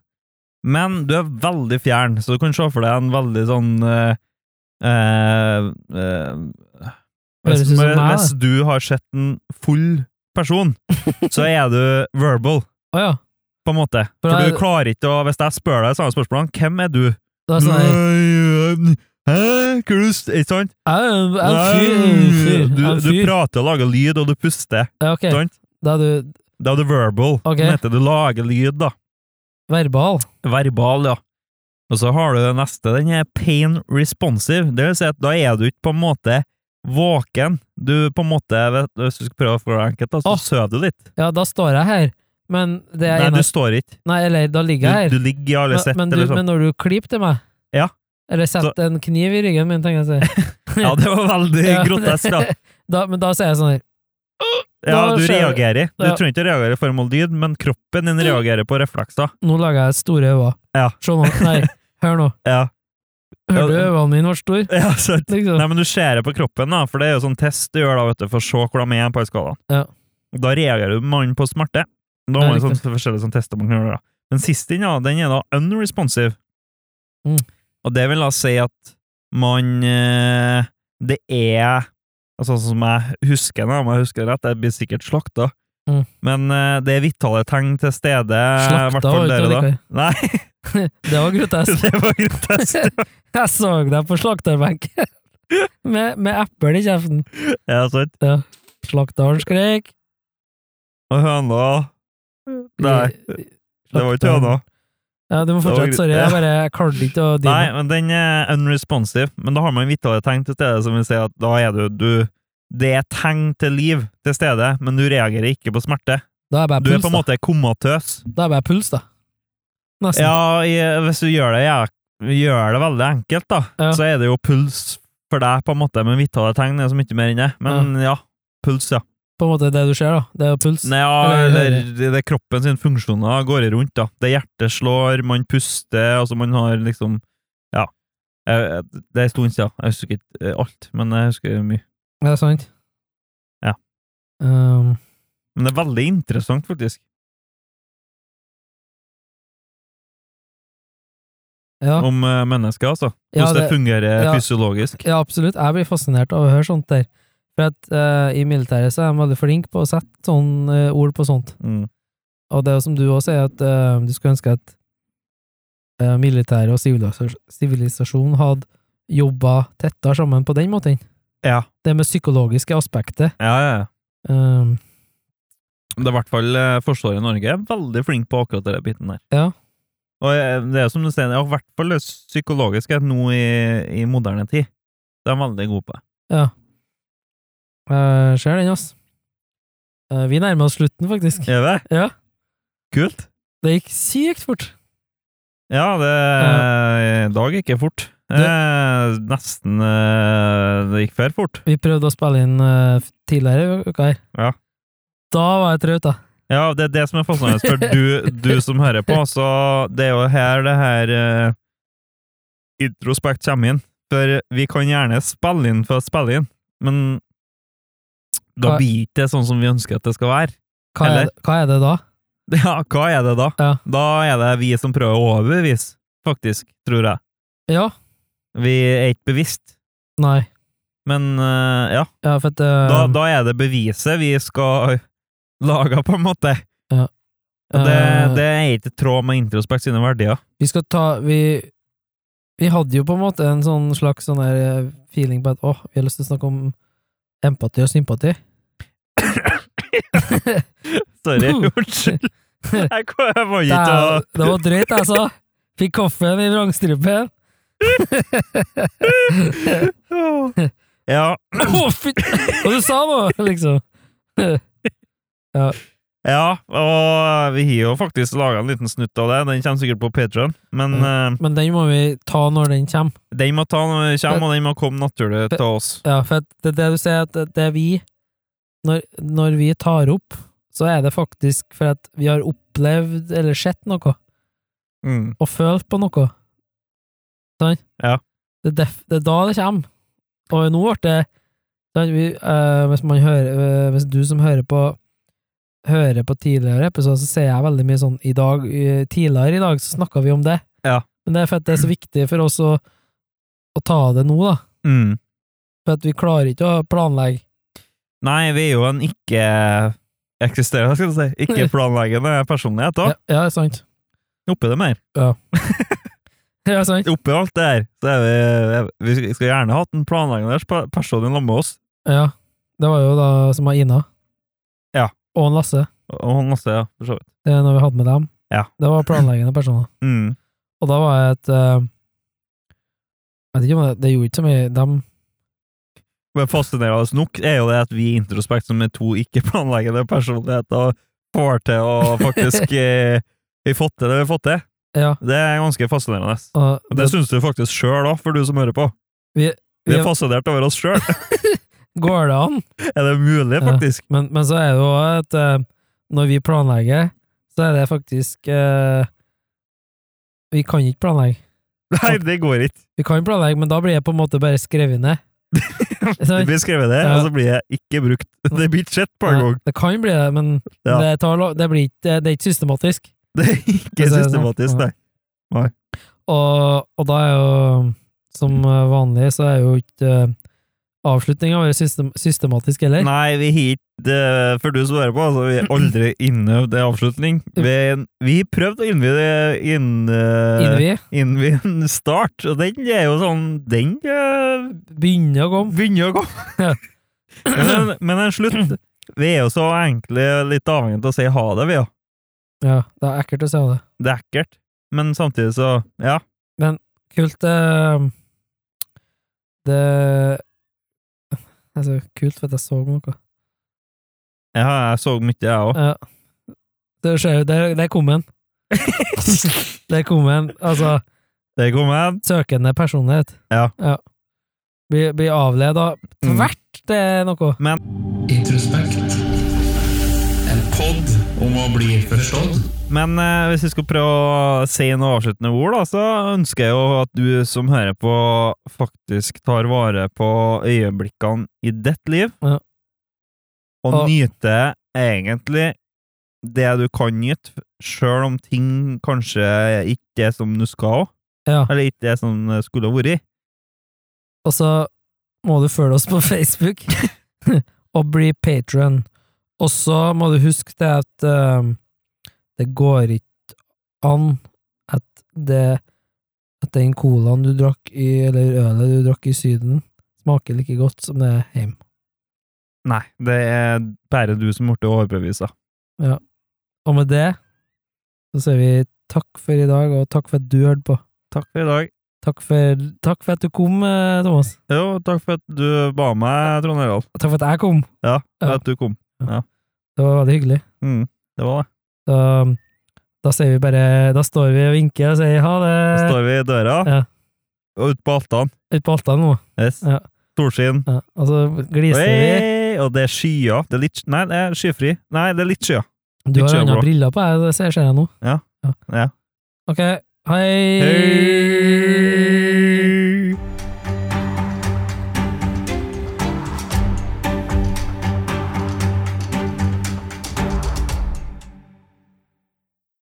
Speaker 2: Men du er veldig fjern, så du kan se for deg en veldig sånn eh, eh, eh,
Speaker 1: Høres
Speaker 2: hvis,
Speaker 1: ut som meg, da.
Speaker 2: hvis du har sett en full
Speaker 1: <laughs>
Speaker 2: person, så er du verbal,
Speaker 1: Å ja.
Speaker 2: på en måte.
Speaker 1: For
Speaker 2: For
Speaker 1: da er-
Speaker 2: du klarer ikke å Hvis jeg spør deg samme spørsmål, hvem er du?
Speaker 1: Det er
Speaker 2: Mm.
Speaker 1: sånn her
Speaker 2: Nei, eh, Hæ? Krust, ikke sant?
Speaker 1: Jeg er en- jeg er en fyr. jeg er en fyr,
Speaker 2: Nei,
Speaker 1: jeg
Speaker 2: Du,
Speaker 1: er en
Speaker 2: du
Speaker 1: fyr.
Speaker 2: prater og lager lyd, og du puster.
Speaker 1: Ja, ok.
Speaker 2: Sant?
Speaker 1: Da er du
Speaker 2: Da er du verbal.
Speaker 1: Ok.
Speaker 2: Det heter du lager lyd, da.
Speaker 1: verbal.
Speaker 2: Verbal, ja. Og så har du det neste, den er pain responsive. Det vil si at da er du ikke på en måte våken. Du på en måte, vet, hvis du skal prøve å forklare det enkelt, da, så
Speaker 1: Åh.
Speaker 2: sover du litt.
Speaker 1: Ja, da står jeg her, men Ah! det er
Speaker 2: Nei,
Speaker 1: en
Speaker 2: du
Speaker 1: av
Speaker 2: står ikke.
Speaker 1: Nei, eller da ligger
Speaker 2: Du,
Speaker 1: jeg her.
Speaker 2: du ligger i alle
Speaker 1: Men,
Speaker 2: sett,
Speaker 1: men,
Speaker 2: eller
Speaker 1: du,
Speaker 2: sånn.
Speaker 1: men når du klipper til meg
Speaker 2: Ja.
Speaker 1: Eller setter en kniv i ryggen min, tenker jeg å si.
Speaker 2: Ja, det var veldig
Speaker 1: <laughs> Ja, det-
Speaker 2: grotesk, da.
Speaker 1: Da, men da sier jeg sånn her
Speaker 2: Ja,
Speaker 1: Da
Speaker 2: du
Speaker 1: skjer det.
Speaker 2: reagerer. Du
Speaker 1: Ja.
Speaker 2: trenger ikke reagere i form av lyd, men kroppen din reagerer på reflekser.
Speaker 1: Nå lager jeg store øyne.
Speaker 2: Ja.
Speaker 1: Se nå. Nei, hør nå.
Speaker 2: Ja, <laughs> Ja,
Speaker 1: Hør du
Speaker 2: det-
Speaker 1: øynene mine var store?
Speaker 2: ja sant.
Speaker 1: Liksom.
Speaker 2: Nei, men du ser det på kroppen, da, for det er jo sånn test du gjør da, vet du, for å se hvor de er på skalaen.
Speaker 1: Ja.
Speaker 2: Da reagerer du mannen på smerte. Da
Speaker 1: Ja,
Speaker 2: har man
Speaker 1: riktig.
Speaker 2: sånne forskjellige sånne sånn tester man kan gjøre. da. Den siste inn, ja, den er da unresponsive.
Speaker 1: Mm.
Speaker 2: Og det vil da si at man eh, Det er altså, Sånn som jeg husker det, om jeg husker det rett, jeg blir sikkert slakta,
Speaker 1: Mm.
Speaker 2: men eh, det er vitale tegn til stede. eh, i hvert
Speaker 1: Slakta var ikke
Speaker 2: fall dere da.
Speaker 1: allikevel.
Speaker 2: Nei,
Speaker 1: <laughs> Det var grotesk.
Speaker 2: <laughs> det var grotesk.
Speaker 1: <laughs> Jeg så deg på slakterbenken med, med eple i kjeften.
Speaker 2: Ja, sant.
Speaker 1: Slakteren skrek.
Speaker 2: Og høna
Speaker 1: Mm.
Speaker 2: Nei, det var ikke høna.
Speaker 1: Ja, du må
Speaker 2: var
Speaker 1: fortsette.
Speaker 2: gru-
Speaker 1: Sorry, jeg bare jeg klarte ikke å deale
Speaker 2: Nei, men den er unresponsive. Men da har man vitale tegn til stede, som vil si at da er du, du Det er tegn til liv til stede, men du reagerer ikke på smerte.
Speaker 1: Da er jeg bare
Speaker 2: Du er
Speaker 1: puls,
Speaker 2: på en
Speaker 1: da.
Speaker 2: måte komatøs.
Speaker 1: Da er jeg bare puls, da. Nesten.
Speaker 2: Ja, i, hvis du gjør det, ja, gjør det veldig enkelt, da,
Speaker 1: Ja.
Speaker 2: så er det jo puls for deg, på en måte, men vitale tegn er så mye mer enn det. Men ja, puls, ja.
Speaker 1: På en måte det du ser, da. Det er jo puls.
Speaker 2: Nei, ja,
Speaker 1: Eller-
Speaker 2: eller det er kroppen sin funksjoner går rundt, da. Det hjertet slår, man puster, altså man har liksom Ja. Jeg- jeg- Det er en stund siden. Jeg husker ikke eh, alt, men jeg husker mye.
Speaker 1: Er det sant?
Speaker 2: Ja.
Speaker 1: Um,
Speaker 2: Men det er veldig interessant, faktisk.
Speaker 1: ja.
Speaker 2: Om eh, mennesker, altså.
Speaker 1: Ja,
Speaker 2: Hvordan det,
Speaker 1: det-
Speaker 2: fungerer
Speaker 1: ja.
Speaker 2: fysiologisk.
Speaker 1: ja, absolutt. Jeg blir fascinert av å høre sånt der. For at eh, i militæret så er de veldig flinke på å sette sånn eh, ord på sånt.
Speaker 2: Mm.
Speaker 1: Og det er jo som du også sier, at eh, du skulle ønske at uh, militæret og sivilisas- sivilisasjon hadde jobba tettere sammen på den måten.
Speaker 2: Ja.
Speaker 1: Det med psykologiske aspektet.
Speaker 2: ja, ja. ja.
Speaker 1: Um,
Speaker 2: Det er i hvert fall eh, Forsvaret i Norge er veldig flink på akkurat den biten der.
Speaker 1: Ja.
Speaker 2: Og eh, det er som du sier, ja, i hvert fall det psykologiske nå i, i moderne tid. Det er de veldig gode på.
Speaker 1: eh, ser den, ass. Eh, vi nærmer oss slutten, faktisk.
Speaker 2: Er det?
Speaker 1: Ja.
Speaker 2: Kult.
Speaker 1: Det gikk sykt fort.
Speaker 2: Ja, det dag gikk ikke fort. Eh, nesten eh, Det gikk før fort.
Speaker 1: Vi prøvde å spille inn eh, tidligere i uka her.
Speaker 2: Ja.
Speaker 1: Da var jeg trøtt, da.
Speaker 2: Ja, det er det som er fascinerende for du, du som hører på. Så det er jo her det her eh, introspekt kommer inn. For vi kan gjerne spille inn for å spille inn, men da
Speaker 1: Hva-
Speaker 2: blir ikke det sånn som vi ønsker at det skal være. <laughs>
Speaker 1: Hva er,
Speaker 2: Eller?
Speaker 1: det- hva er det da?
Speaker 2: Ja, hva er det da?
Speaker 1: Ja.
Speaker 2: Da er det vi som prøver å overbevise, faktisk, tror jeg.
Speaker 1: Ja?
Speaker 2: Vi er ikke bevisst,
Speaker 1: Nei.
Speaker 2: men eh, ja.
Speaker 1: Ja, for at
Speaker 2: Da,
Speaker 1: eh,
Speaker 2: da er det beviset vi skal lage, på en måte. Og det,
Speaker 1: eh,
Speaker 2: det er ikke i tråd med introspekt sine verdier.
Speaker 1: Vi skal ta Vi, vi hadde jo på en måte en sånn slags sånn her eh, feeling på at åh, vi har lyst til å snakke om empati og sympati.
Speaker 2: Sorry, unnskyld. Jeg kom- jeg var
Speaker 1: Det,
Speaker 2: ikke å
Speaker 1: er- det var drøyt, jeg sa. Fikk kaffen i vrangstrupen.
Speaker 2: ja,
Speaker 1: Å, fy Hva du sa nå, liksom?
Speaker 2: ja, og vi har jo faktisk laga en liten snutt av det. Den kommer sikkert på Patreon men eh,
Speaker 1: Men den må vi ta når den kommer.
Speaker 2: den må ta når den kommer, og den må komme naturlig til oss.
Speaker 1: Ja, for at det, det du sier, at det- det er vi når, når vi tar opp, så er det faktisk for at vi har opplevd eller sett noe,
Speaker 2: Mm.
Speaker 1: og følt på noe. Sant?
Speaker 2: Ja.
Speaker 1: Det, er def, det er da det kommer. Og nå ble det sant, vi, eh, Hvis man hører eh, Hvis du som hører på, hører på tidligere episoder, så ser jeg veldig mye sånn i dag, eh, Tidligere i dag så snakka vi om det.
Speaker 2: Ja.
Speaker 1: Men det er for at det er så viktig for oss å, å ta det nå, da.
Speaker 2: Mm.
Speaker 1: For at vi klarer ikke å planlegge.
Speaker 2: Nei, vi er jo en ikke-eksisterende, skal vi si, ikke-planleggende personlighet
Speaker 1: Ja,
Speaker 2: da.
Speaker 1: ja, sant.
Speaker 2: Oppi det mer.
Speaker 1: Ja, sant.
Speaker 2: Oppi alt det her, så er vi, vi skal gjerne ha hatt en planleggende pers- person i lag med oss,
Speaker 1: Ja. Det var jo da som var Ina.
Speaker 2: Ja.
Speaker 1: Og en Lasse.
Speaker 2: og han også, ja, for så vidt.
Speaker 1: Det er når vi hadde med dem.
Speaker 2: Ja.
Speaker 1: Det var planleggende personer.
Speaker 2: Mm.
Speaker 1: Og da var jeg et eh, Jeg vet ikke om det, det gjorde ikke så mye dem
Speaker 2: Men fascinerende nok er jo det at vi i Introspekt, som er to ikke-planleggende personligheter, får til
Speaker 1: <laughs>
Speaker 2: å faktisk eh, Vi fått til det vi har fått til.
Speaker 1: Ja.
Speaker 2: Det er ganske fascinerende.
Speaker 1: og
Speaker 2: Og det syns du faktisk sjøl òg, for du som hører på.
Speaker 1: Vi-
Speaker 2: Vi er
Speaker 1: vi-
Speaker 2: fascinert over oss
Speaker 1: <laughs>
Speaker 2: sjøl.
Speaker 1: går det an.
Speaker 2: Er det mulig,
Speaker 1: Ja.
Speaker 2: faktisk?
Speaker 1: Men, men så er det jo også at eh, når vi planlegger, så er det faktisk eh, Vi kan ikke planlegge.
Speaker 2: Nei, det går ikke.
Speaker 1: Vi kan planlegge, men da blir det på en måte bare skrevet
Speaker 2: <laughs>
Speaker 1: ned.
Speaker 2: Det blir skrevet det,
Speaker 1: Ja.
Speaker 2: og så blir det ikke brukt. Det blir ikke sett på en gang.
Speaker 1: det kan bli det, men
Speaker 2: Ja.
Speaker 1: det, tar, lo- det, blir ikke, det er ikke systematisk.
Speaker 2: Det er ikke
Speaker 1: Det er sånn.
Speaker 2: systematisk, nei.
Speaker 1: Og, og da er jo, som vanlig, så er jo ikke eh, avslutninga vår system, systematisk heller.
Speaker 2: Nei, vi har ikke det- For du som hører på, altså, vi har aldri innøvd en avslutning. Vi, vi har prøvd å innvie det inn... eh,
Speaker 1: Innvi
Speaker 2: inn ved en start, og den er jo sånn Den eh,
Speaker 1: begynner å komme.
Speaker 2: begynner å komme.
Speaker 1: Ja.
Speaker 2: men, men en slutt Vi er jo så egentlig litt avhengig av å si ha det, vi, ja.
Speaker 1: Ja, det er ekkelt å se det.
Speaker 2: Det er ekkelt, men samtidig så Ja.
Speaker 1: Kult eh, Det <laughs> Altså, kult for at jeg så noe.
Speaker 2: Jeg, har- jeg så mye, jeg òg.
Speaker 1: Ja. Det skjer jo, der, der kom <laughs> en. der kom en. Altså,
Speaker 2: Det kom en.
Speaker 1: søkende personlighet.
Speaker 2: Ja.
Speaker 1: Blir blir avleda tvert det er noe.
Speaker 3: Introspekt. En podd om å bli forstått.
Speaker 2: Men eh, hvis vi skal prøve å si noen avsluttende ord, da, så ønsker jeg jo at du som hører på, faktisk tar vare på øyeblikkene i ditt liv,
Speaker 1: Ja.
Speaker 2: og
Speaker 1: Og-
Speaker 2: nyter egentlig det du kan nyte, sjøl om ting kanskje ikke er som du skal,
Speaker 1: Ja.
Speaker 2: eller ikke er som det skulle ha vært.
Speaker 1: Og så må du følge oss på <laughs> Facebook og bli patron. Og så må du huske det at eh, det går ikke an at det at den colaen du drakk i, eller ølet du drakk i Syden, smaker like godt som det er hjemme.
Speaker 2: Nei, det er bare du som ble overbevist. da.
Speaker 1: Og med det så sier vi takk for i dag, og takk for at du hørte på.
Speaker 2: Takk for i dag.
Speaker 1: Takk for, takk for at du kom, eh, Thomas.
Speaker 2: Jo, takk for at du ba meg, Trond Harald.
Speaker 1: Og takk for at jeg kom.
Speaker 2: Ja, for
Speaker 1: Ja.
Speaker 2: at du kom.
Speaker 1: Det var veldig hyggelig.
Speaker 2: Mm, det var det.
Speaker 1: Så, da sier vi bare Da står vi og vinker og sier ha det
Speaker 2: Så står vi i døra,
Speaker 1: Eh, Ja.
Speaker 2: og ut på altan.
Speaker 1: ute på Alta nå.
Speaker 2: Yes.
Speaker 1: Ja.
Speaker 2: Solskinn.
Speaker 1: Ja, og så gliser vi.
Speaker 2: Oi, Og det er skyer. Det er litt, nei, det er skyfri. Nei, det er litt skyer.
Speaker 1: Du har
Speaker 2: Ikke
Speaker 1: andre
Speaker 2: bra.
Speaker 1: briller på, jeg, det ser ser jeg nå.
Speaker 2: Ja. Ja.
Speaker 1: Ok, hei!
Speaker 2: Hei!